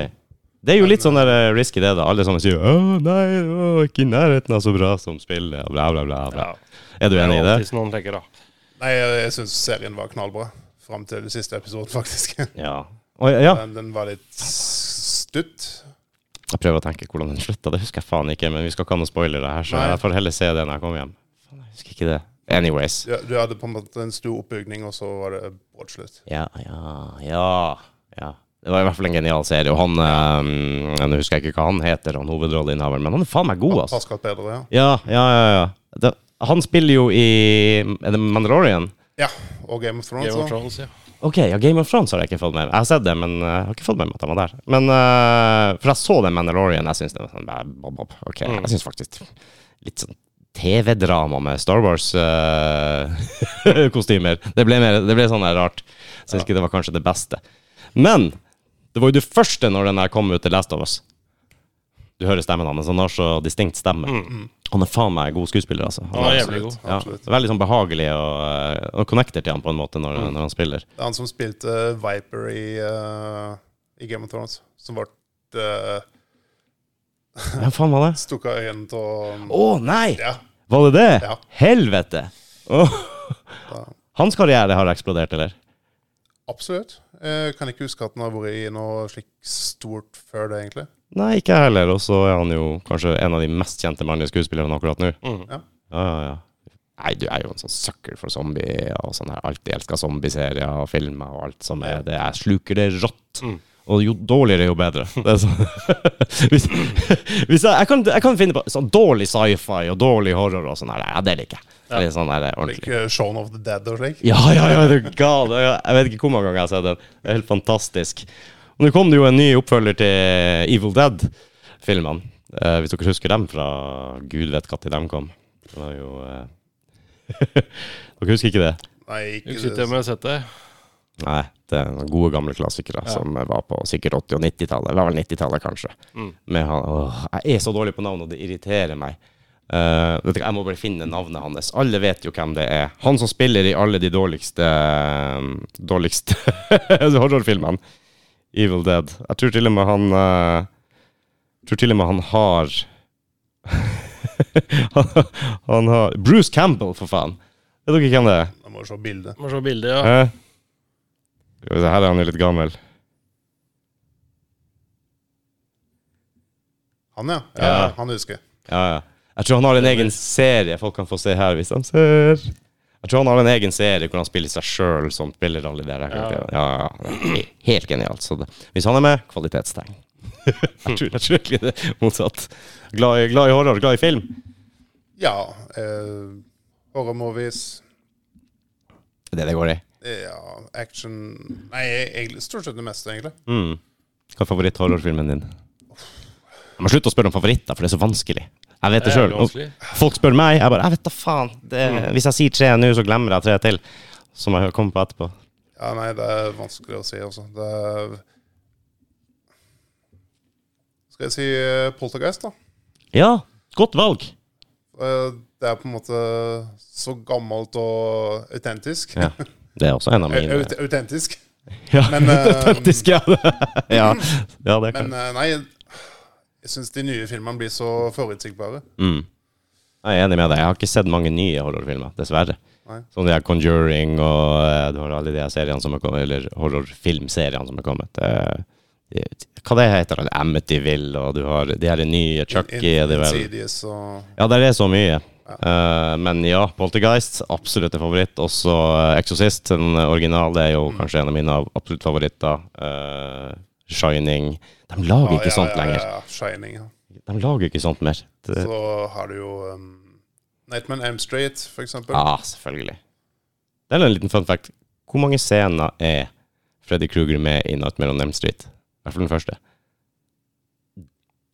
S1: Det er jo litt sånn der eh, risky det, da. Alle sammen sier 'Å, nei, det var ikke i nærheten av så bra som spillet', og bla, bla, bla. bla.
S2: Ja.
S1: Er du
S2: Det er
S1: enig i det?
S2: alltid som noen tenker, da.
S3: Nei, jeg, jeg syns serien var knallbra. Fram til den siste episoden, (laughs) faktisk.
S1: Ja. Oi, ja.
S3: Den, den var litt stutt.
S1: Jeg prøver å tenke hvordan den slutta, det husker jeg faen ikke, men vi skal ikke ha noen spoilere her, så
S3: Nei.
S1: jeg får heller se det når jeg kommer hjem. Faen, jeg husker ikke det. Anyways.
S3: Du, du hadde på en måte en stor oppbygning, og så var det brått slutt.
S1: Ja, ja, ja, ja. Det var i hvert fall en genial serie, og han eh, Nå husker jeg ikke hva han heter, han hovedrolleinnehaveren, men han er faen meg god, altså.
S3: Pascal bedre, ja.
S1: Ja, ja, ja. ja. Det, han spiller jo i Er det Mandalorian?
S3: Ja, og Game of Thrones.
S1: Altså.
S2: Game of
S3: Thrones.
S2: Thrones, ja.
S1: Ok, ja, Game of Thrones har jeg ikke fått med meg. Jeg har sett det, men eh, jeg har ikke fått med meg at han var der. Men, eh, For jeg så den Mandalorian, jeg syns det var sånn bæ, bob, bob. Ok,
S2: Mm.
S1: Jeg syns faktisk litt sånn TV-drama med Star (laughs) Wars-kostymer. det, ble mer- det ble sånn her rart. Jeg syns ikke det var kanskje det beste. Men det var jo det første når den her kom ut til Last of Us. Du hører stemmen hans. Han har så distinkt stemme. Han er faen meg god skuespiller, altså.
S2: Han er
S1: har-
S2: jævlig god.
S1: ja,
S3: Absolutt.
S1: veldig sånn behagelig og, eh, og connecter til han på en måte når, når han spiller.
S3: Det er han som spilte Viper i, eh, i Game of Thrones, som ble uh,
S1: Hvem faen var det?
S3: stukket av øynene til
S1: Å nei!
S3: Ja.
S1: Var det det?
S3: Ja.
S1: Helvete! Åh. Hans karriere har eksplodert, eller?
S3: Absolutt. Jeg kan ikke huske at han har vært i noe slikt stort før det, egentlig.
S1: Nei, ikke jeg heller. Og så er han jo kanskje en av de mest kjente mannlige skuespillerne akkurat nå.
S2: Mm.
S3: Ja.
S1: Ja, ja, ja. Nei, du er jo en sånn sucker for zombie og sånn her. Alltid elsker zombieserier og filmer og alt som er det. Jeg sluker det rått.
S2: Mm.
S1: Og jo dårligere, jo bedre. Det er sånn. (laughs) hvis, hvis jeg, jeg, kan, jeg kan finne på sånn dårlig sci-fi og dårlig horror og sånn. her. Ja, det liker jeg. Det er sånn her, ordentlig.
S3: Like eh, Shaun of the Dead og slik.
S1: Ja, ja, ja, det er gal. Jeg jeg vet ikke hvor mange ganger jeg har sett den. Det er helt fantastisk. Og nå kom det jo en ny oppfølger til Evil Dead-filmene. Eh, hvis dere husker dem fra Gud vet når de kom. Det var jo eh... (laughs) Dere husker ikke det?
S3: Nei,
S2: Jeg
S3: ikke
S2: sitter
S3: det.
S2: med og sett det.
S1: Nei, det er noen gode gamle klassikere som var på sikkert 80- og 90-tallet. Det var vel 90-tallet, kanskje. Med han, åh, jeg er så dårlig på navn, og det irriterer meg. Eh, vet du hva, jeg må bare finne navnet hans. Alle vet jo hvem det er. Han som spiller i alle de dårligste eh, Dårligste (laughs) horrorfilmene. Evil Dead. Jeg tror til og med han eh, Tror til og med han har (laughs) han, han har Bruce Campbell, for faen! Vet dere hvem det er?
S3: Jeg må se bildet.
S2: Må se bildet, ja.
S1: Hæ? Skal vi se, her er han jo litt gammel.
S3: Han, ja. ja.
S1: Ja.
S3: Han husker jeg.
S1: Ja, ja. Jeg tror han har en egen serie folk kan få se her hvis de ser. Jeg tror han har en egen serie hvor han spiller seg sjøl som spiller alle de der. karakterene. Ja, ja, ja. Helt genialt. Så det, hvis han er med, (laughs) kvalitetstegn. jeg tror jeg tror egentlig det er motsatt. Glad i, glad i horror, glad i film.
S3: Ja. Eh, Horror-movies.
S1: Det er det det går i.
S3: eh, Ja, action Nei, egentlig stort sett det meste, egentlig.
S1: Mm. Hva er favoritthorrorfilmen din? Jeg må slutte å spørre om favoritter, for det er så vanskelig. Jeg vet det
S2: Det er
S1: sjøl.
S2: vanskelig.
S1: Folk spør meg, jeg bare Jeg vet da faen. Det, Hvis jeg sier tre nå, så glemmer jeg tre til. Som jeg kommer på etterpå.
S3: Ja, nei, det er vanskelig å si, altså. Det er Skal jeg si eh, Poltergeist, da?
S1: Ja, godt valg.
S3: Eh, Det er på en måte så gammelt og autentisk.
S1: Ja. Det er også en
S3: Au-
S1: av mine.
S3: aut- Autentisk.
S1: Ja, (laughs)
S3: Men, eh,
S1: autentisk, ja. ja. ja, det
S3: Men
S1: kan
S3: eh, nei, jeg syns de nye filmene blir så forutsigbare.
S1: mm. Jeg er enig med deg. Jeg har ikke sett mange nye horrorfilmer, dessverre.
S3: Nei.
S1: Som de her Conjuring og eh, du har alle de her seriene som er kommet, eller horrorfilmseriene som er kommet. Eh, hva det heter det? Amityville, og du har de her nye Chucky er det vel?
S3: Insidious og
S1: Ja, der er så mye. Eh, men ja, Poltergeist, absolutt en favoritt. Også eh, Exorcist, den originale, er jo
S3: Mm.
S1: kanskje en av mine av- absolutt favoritter. Eh, Shining. De lager ikke sånt lenger.
S3: ja, Shining. Ja.
S1: De lager ikke sånt mer. Det,
S3: Så har du jo um, Nightman M. Street, for eksempel.
S1: ja, selvfølgelig. Det er en liten fun fact. Hvor mange scener er Freddy Kruger med i Nightmare on Elm Street? I hvert fall den første.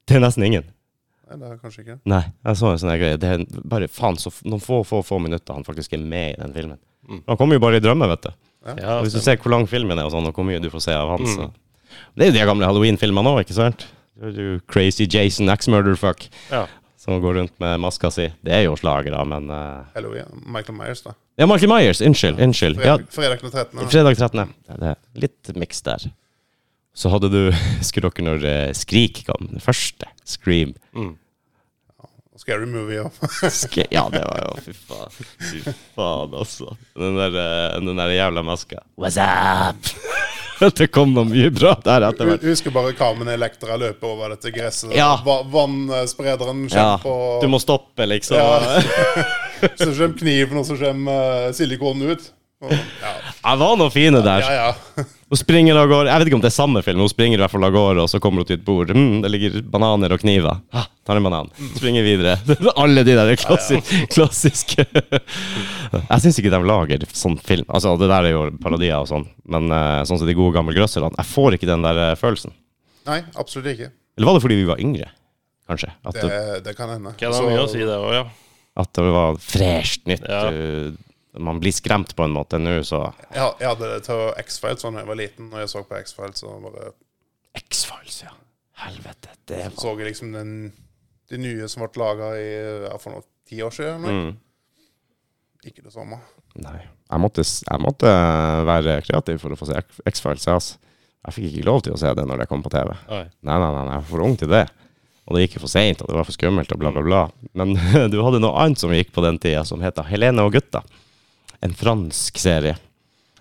S1: Det er nesten ingen.
S3: Nei, det er kanskje ikke.
S1: Nei, jeg så en sånn her greie. Det er bare faen så f- noen få, få, få minutter han faktisk er med i den filmen. Han kommer jo bare i drømmen, vet du.
S2: Ja, altså.
S1: Og hvis du ser hvor lang filmen er, og sånn, og hvor mye du får se av han, så Det er jo de gamle Halloween-filmene òg, ikke sant? Det er jo Crazy Jason X-Murderfuck
S2: ja.
S1: som går rundt med maska si. Det er jo slagere, men eh,
S3: Hello, ja. Michael Myers, da.
S1: Ja, Michael Myers. Unnskyld. Unnskyld. Ja,
S3: Fredag, fredag den 13. da.
S1: fredag 13. Det er- det er Litt miks der. Så hadde du (laughs) Husker dere når eh, Skrik kom? Den første. Scream.
S3: Scary movie, ja.
S1: Sk ja, det var jo Fy faen. Fy faen, altså. Den der, eh, den der jævla maska. What's up? (laughs) det kom noe mye bra der
S3: (laughs)
S1: etter hvert.
S3: Hu- Husker bare Carmen Electra løpe over dette gresset.
S1: Ja.
S3: Va Vannsprederen
S1: Ja,
S3: kommer på
S1: du må stoppe, liksom.
S3: Ja. (laughs) Så kommer kniven, og så kommer eh, silikonen ut. Og, ja.
S1: Jeg var noe fine der.
S3: ja, ja. (laughs)
S1: Hun springer av gårde. Jeg vet ikke om det er samme film, hun springer i hvert fall av gårde, og så kommer hun til et bord. Mm, det ligger bananer og kniver. Ha, tar en banan. Springer videre. (laughs) Alle de der klassi klassiske Jeg syns ikke de lager sånn film. Altså, det der er jo parodier og sånn, men eh, sånn som de gode gamle grøsserne. Jeg får ikke den der eh, følelsen.
S3: Nei, absolutt ikke.
S1: Eller var det fordi vi var yngre, kanskje? At
S3: Det,
S1: det,
S3: det kan hende.
S2: Ok, det er mye å si, det òg, ja.
S1: at det var fresht nytt.
S2: Ja.
S1: eh, Man blir skremt på en måte nå, så
S3: Jeg, ha- jeg hadde det til X-Files da jeg var liten, og jeg så på X-Files, og bare
S1: X-Files, ja. Helvete. Det var
S3: så jeg liksom den, de nye som ble laga for noe ti år siden. eller noe.
S2: Mm.
S3: Ikke det samme.
S1: Nei. Jeg måtte, s- jeg måtte eh, være kreativ for å få se X- X-Files. jeg, ass. Jeg fikk ikke lov til å se det når det kom på TV.
S2: Nei.
S1: Nei, nei, nei, nei, jeg var for ung til det. Og det gikk for seint, og det var for skummelt, og bla, bla, bla. Men (laughs) du hadde noe annet som gikk på den tida, som heter Helene og gutta. En fransk serie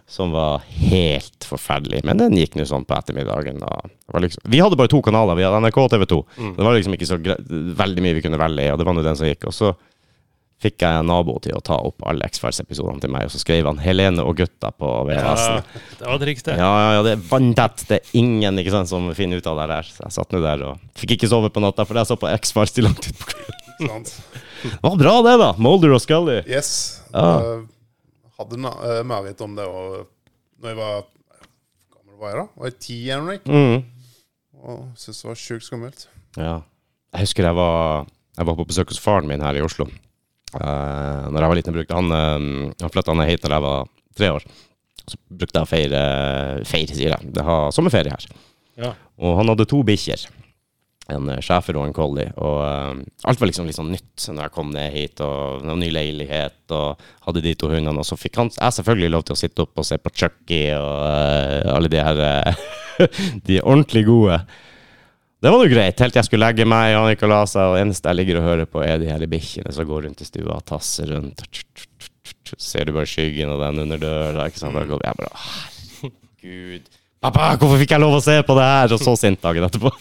S1: som var helt forferdelig. Men den gikk nå sånn på ettermiddagen. Og det var liksom, vi hadde bare to kanaler. Vi hadde NRK og TV 2. Det var liksom ikke så gre veldig mye vi kunne velge i, og det var nå den som gikk. Og så fikk jeg en nabo til å ta opp alle X-Files-episodene til meg, og så skrev han 'Helene og gutta' på VHS-en.
S2: det var triks, det.
S1: Ja, ja, ja, det er vanntett. Det er ingen ikke sant, som finner ut av det her. Så jeg satt nå der og fikk ikke sove på natta, for jeg så på X-Files til langt utpå kvelden.
S3: Ikke
S2: (laughs)
S3: sant?
S1: Det var bra, det, da. Molder og Scully.
S3: Yes.
S1: Ja.
S3: Eh, hadde na- eh, mareritt om det og Når jeg var Hvor gammel var jeg da? Var jeg ti eller noe?
S1: Mm.
S3: Og syntes det var sjukt skummelt.
S1: Ja. Jeg husker jeg var, jeg var på besøk hos faren min her i Oslo. Uh, når jeg var liten, brukte han eh, Han flytta ned hit da jeg var tre år. Så brukte jeg å feire, feire sier jeg, det har sommerferie her.
S2: Ja.
S1: Og han hadde to bikkjer. En eh, schæfer og en collie. Og eh, alt var liksom litt sånn nytt når jeg kom ned hit. Og det var ny leilighet, og hadde de to hundene. Og så fikk han jeg selvfølgelig lov til å sitte opp og se på Chucky og eh, alle de her eh, (laughs) De ordentlig gode. Det var nå greit, helt til jeg skulle legge meg, og han gikk og la seg, og det eneste jeg ligger og hører på, er de her bikkjene som går rundt i stua og tasser rundt. Ser du bare skyggen og den under døra, ikke sant? Da går jeg bare Herregud. Pappa, hvorfor fikk jeg lov å se på det her? Og så sint dagen etterpå.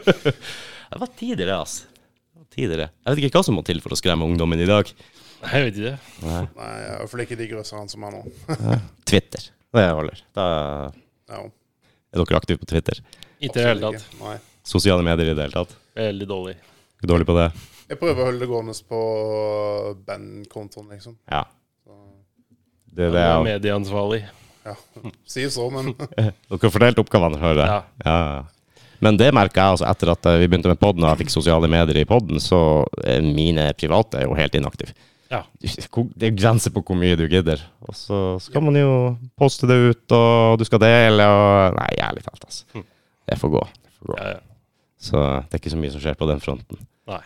S1: (laughs) det var tider, det, altså. Det var tider, det. Jeg vet ikke hva som må til for å skremme ungdommen i dag.
S2: Nei, jeg vet ikke det.
S3: Nei, i hvert fall ikke de grøsserne som er nå.
S1: Twitter. Det holder. Da
S3: Ja,
S1: er dere aktive på Twitter.
S2: Ikke i det hele
S3: absolutt
S2: tatt.
S3: ikke. Nei.
S1: Sosiale medier i det hele tatt.
S2: Veldig dårlig.
S1: Er Dårlig på det?
S3: Jeg prøver å holde det gående på bandkontoen, liksom.
S1: Ja. Det er
S2: Du
S1: det
S2: er
S1: jeg
S2: medieansvarlig.
S3: Ja, Sier så,
S2: (laughs)
S3: men
S1: Dere fordelte oppgavene, hører jeg. Ja. ja. Men det merka jeg altså etter at eh, vi begynte med podden og jeg fikk sosiale medier i podden, så eh, mine private er jo helt inaktive.
S2: Ja.
S1: Hvor- Det er grenser på hvor mye du gidder. Og så skal man jo poste det ut, og du skal dele og Nei, ærlig talt, altså. Det får gå. Det får gå.
S2: Hm. Ja, ja.
S1: Så det er ikke så mye som skjer på den fronten.
S2: Nei.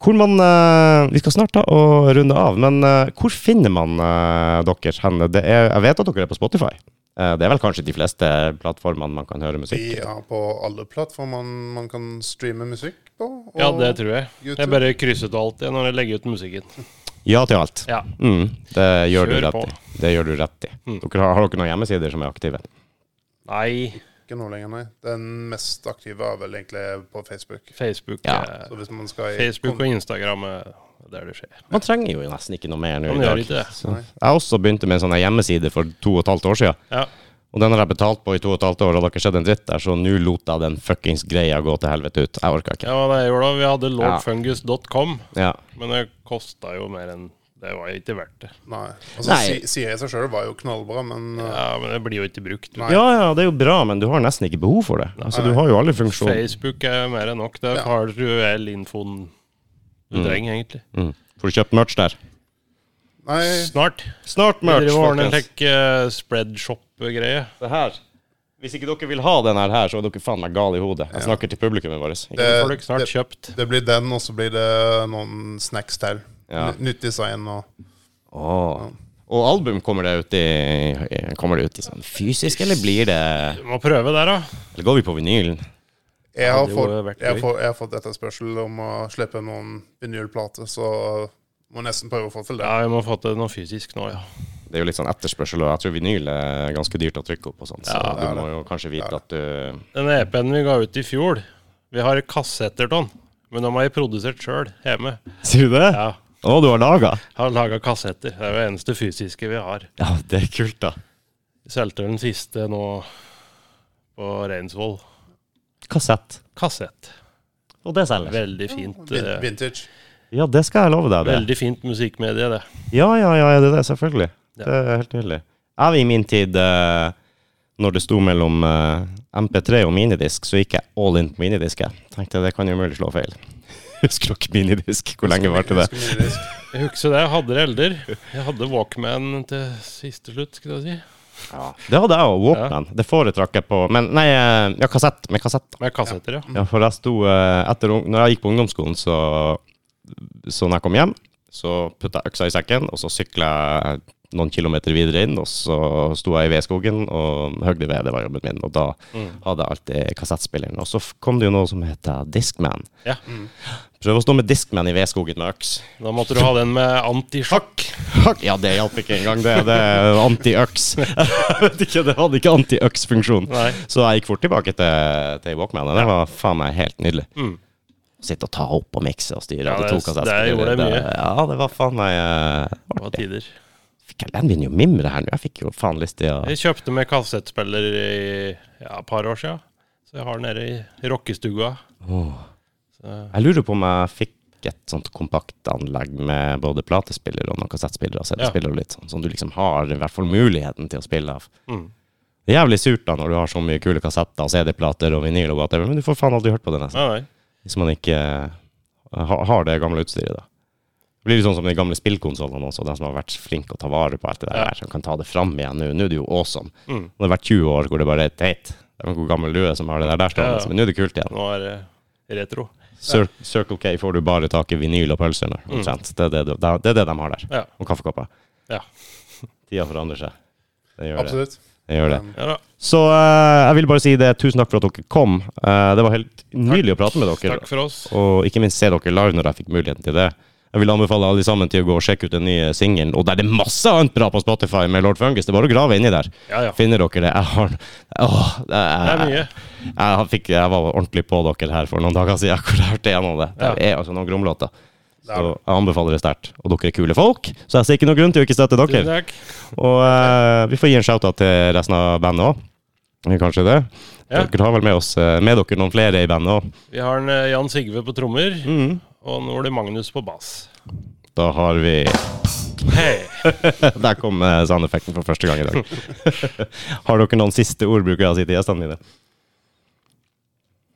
S1: Hvor man, eh, Vi skal snart ta og runde av, men eh, hvor finner man eh, dere hen? Det er, jeg vet at dere er på Spotify. Eh, det er vel kanskje de fleste plattformene man kan høre musikk?
S3: vi er på alle plattformer man kan streame musikk på. Og
S2: Ja, det tror jeg.
S3: YouTube.
S2: Jeg bare krysser ut alt jeg når jeg legger ut musikken.
S1: Ja til alt.
S2: Ja.
S1: Mm, det gjør du
S2: Kjør
S1: rett
S2: på. Mm.
S1: i. Det gjør du rett i. Dere har, har dere noen hjemmesider som er aktive?
S2: Nei,
S3: Ikke nå lenger, nei. Den mest aktive er vel egentlig på Facebook.
S2: Facebook
S1: Ja.
S2: eh,
S3: Så hvis man skal i
S2: Facebook og Instagram er der det skjer.
S1: Man trenger jo nesten ikke noe mer nå
S2: Man
S1: i
S2: gjør
S1: dag.
S2: ikke det.
S1: Så Jeg også begynte med en sånn her hjemmeside for to og et halvt år siden.
S2: Ja.
S1: Og den har jeg betalt på i to og et halvt år, og det har ikke skjedd en dritt der, så nå lot jeg den fuckings greia gå til helvete ut. Jeg orka ikke.
S2: Ja, men det gjorde da. Vi hadde
S1: Ja.
S2: lordfungus.com,
S1: Ja.
S2: men det kosta jo mer enn Det var jo ikke verdt det.
S3: Nei. Altså,
S1: Nei.
S3: Si, sier jeg seg sjøl, var jo knallbra, men uh,
S2: Ja, Men det blir jo ikke brukt.
S3: Nei.
S1: ja, ja, det er jo bra, men du har nesten ikke behov for det. Altså, du har jo alle funksjoner.
S2: Facebook er mer enn nok. Det
S3: Ja.
S2: har du vel infoen du trenger, egentlig.
S1: Mm. Får du kjøpt merch der?
S3: Nei,
S2: Snart.
S1: Snart
S2: Vi
S1: merch,
S2: driver og ordner en
S1: folkens.
S2: slik eh, spreadshop-greie.
S1: Det her. Hvis ikke dere vil ha den her, her, så er dere faen meg gale i hodet. Jeg snakker til publikummet vårt. Ikke
S2: Det
S3: Eh,
S2: får dere snart
S3: det-
S2: kjøpt.
S3: det blir den, og så blir det noen snacks til.
S1: Ja.
S3: N- Nytt design og
S1: Åh. Og album, kommer det ut i Kommer det ut i sånn fysisk, eller blir det
S2: Du må prøve der, da.
S1: Eller går vi på vinylen?
S3: jeg har,
S2: det
S3: fått,
S2: hadde jo vært
S3: jeg, har
S2: gøy.
S3: fått, jeg har fått etterspørsel om å slippe noen vinylplater, så må nesten prøve å få til det.
S2: Ja, vi må få til noe fysisk nå, ja.
S1: Det er jo litt sånn etterspørsel, og jeg tror vinyl er ganske dyrt å trykke opp og sånt, så
S2: Ja,
S1: du må jo kanskje vite at du
S2: Den EP-en vi ga ut i fjor, vi har kassetter av den. Men de har jeg produsert sjøl, hjemme.
S1: Sier du det? Å,
S2: Ja,
S1: du har laga?
S2: Har laga kassetter. Det er jo det eneste fysiske vi har.
S1: Ja, det er kult, da.
S2: Solgte den siste nå på Reinsvoll.
S1: Kassett.
S2: Kassett.
S1: Og det selger.
S2: Veldig fint.
S3: Vin-
S2: eh,
S3: Vintage.
S1: Ja, det skal jeg love deg. det.
S2: Veldig fint musikkmedie, det.
S1: Ja, ja, ja, det er det, selvfølgelig.
S2: Ja.
S1: Det er helt nydelig. Jeg i min tid, eh, når det sto mellom eh, MP3 og minidisk, så gikk jeg all in på minidisk. Jeg tenkte det kan jo mulig slå feil. (laughs) Husker dere minidisk? Hvor lenge varte det?
S3: Ganske mye disk.
S2: Jeg husker det. Jeg hadde det elder. Jeg hadde Walkman til siste slutt, skal jeg si.
S1: Det hadde jeg òg. Walkman. Det foretrakk jeg på Men nei, eh, ja, kassett. Med kassett.
S2: Med kassetter, ja.
S1: Ja, for jeg sto eh, etter ung- Når jeg gikk på ungdomsskolen, så Så når jeg kom hjem, så putta jeg øksa i sekken, og så sykla jeg noen kilometer videre inn, og så sto jeg i vedskogen og høgde ved. Det var jobben min. Og da hadde jeg alltid kassettspilleren. Og så f- kom det jo noe som heter Discman.
S2: ja.
S1: Prøv å stå med Discman i vedskogen med øks.
S2: Da måtte du ha den med antisjokk.
S1: Ja, det hjalp ikke engang. Det, det er
S2: (laughs)
S1: anti-øks. Jeg vet ikke, Det hadde ikke anti-øks-funksjon.
S2: Nei.
S1: Så jeg gikk fort tilbake til, til Walkman, og det var faen meg helt nydelig. Sitte og ta opp og mikse og styre.
S2: Mm. Ja,
S1: og
S2: det-
S1: det, tok oss-
S2: det gjorde jeg mye.
S1: Ja, det var faen meg eh,
S2: Det var
S1: artig.
S2: tider.
S1: Fikk jeg begynner jo å mimre her nå. Jeg fikk jo faen lyst til å
S2: Jeg kjøpte meg kassettspiller i ja, et par år siden, så jeg har den nede i rockestua.
S1: Åh.
S2: Så
S1: Jeg lurer på om jeg fikk et sånt kompaktanlegg med både platespiller og noen kassettspillere og CD-spillere og litt sånn, som du liksom har i hvert fall muligheten til å spille av.
S2: Mm.
S1: Det er jævlig surt da når du har så mye kule kassetter og CD-plater og vinyl og whatever, men du får faen aldri hørt på det nesten.
S2: Nei, nei.
S1: Hvis man ikke eh, ha, har det gamle utstyret da. Det blir jo sånn som de gamle spillkonsolene også, de som har vært flinke å ta vare på alt det der,
S2: Ja.
S1: her, som kan ta det fram igjen nå. Nå er det jo awesome.
S2: Mm.
S1: Det har vært 20 år hvor det bare er teit. Det er noen gammel lue som har det der der
S2: Ja, ja.
S1: stående, men nå er det kult igjen.
S2: Nå er det retro.
S1: Cir Circle K får du bare tak i vinyl og pølser nå, omtrent. Det, er det, du- det, er- det er det de har der.
S2: Mm. Ja.
S1: Og kaffekopper. (laughs)
S2: Ja.
S1: Tida forandrer seg. Det gjør det.
S3: Absolutt.
S1: det, gjør det.
S3: Um,
S2: ja da.
S1: Så eh, jeg vil bare si det. Tusen takk for at dere kom. Eh, det var helt nydelig å prate med dere.
S2: Takk for oss.
S1: Og ikke minst se dere live når jeg fikk muligheten til det. Jeg vil anbefale alle sammen til å gå og sjekke ut den nye singelen. Og der er det masse annet bra på Spotify med Lord Fungus. Det er bare å grave inni der.
S2: Ja, ja.
S1: Finner dere det? Jeg har Åh, det
S2: Det
S1: er
S2: er mye.
S1: jeg, fikk, jeg var ordentlig på dere her for noen dager siden (laughs) hvor jeg hørte gjennom det. Det er altså noen gromlåter.
S3: Det er
S1: Så jeg anbefaler det sterkt. Og dere er kule folk, så jeg ser ikke noen grunn til å ikke støtte
S2: Tusen
S1: dere.
S2: takk.
S1: Og eh, vi får gi en shout-out til resten av bandet òg. Kanskje det.
S2: Ja.
S1: Dere har vel med, oss, eh, med dere noen flere i bandet òg.
S2: Vi har en eh, Jan Sigve på trommer,
S1: Mm.
S3: Mm.
S2: og nå er det Magnus på bass.
S1: Da har vi (laughs)
S2: Hei.
S1: Der kom eh, soundeffekten for første gang
S3: (laughs)
S1: i dag. har dere noen siste ord, bruker jeg å si til gjestene mine.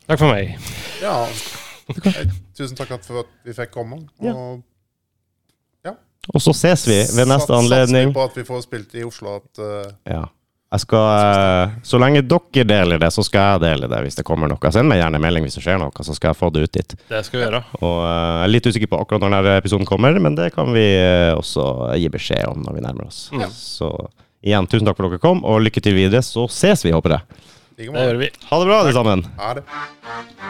S2: Takk for meg.
S3: Ja. Eh, Tusen takk at- for at vi fikk komme. Og
S1: Ja. Og så ses vi ved
S3: sats-
S1: neste
S3: Satser
S1: anledning.
S3: vi på at vi får spilt i Oslo at eh,
S1: Ja. Jeg skal, eh, så lenge dere deler det, så skal jeg dele det hvis det kommer noe. Send meg gjerne en melding hvis det skjer noe, så skal jeg få det ut dit.
S2: Det skal vi gjøre.
S1: Og eh, Jeg er litt usikker på akkurat når denne episoden kommer, men det kan vi eh, også gi beskjed om når vi nærmer oss. Så igjen, tusen takk for at dere kom, og lykke til videre. Så ses vi, håper jeg.
S3: like
S2: Det
S3: måte.
S2: gjør vi.
S1: Ha det bra, alle sammen.
S3: Ha det.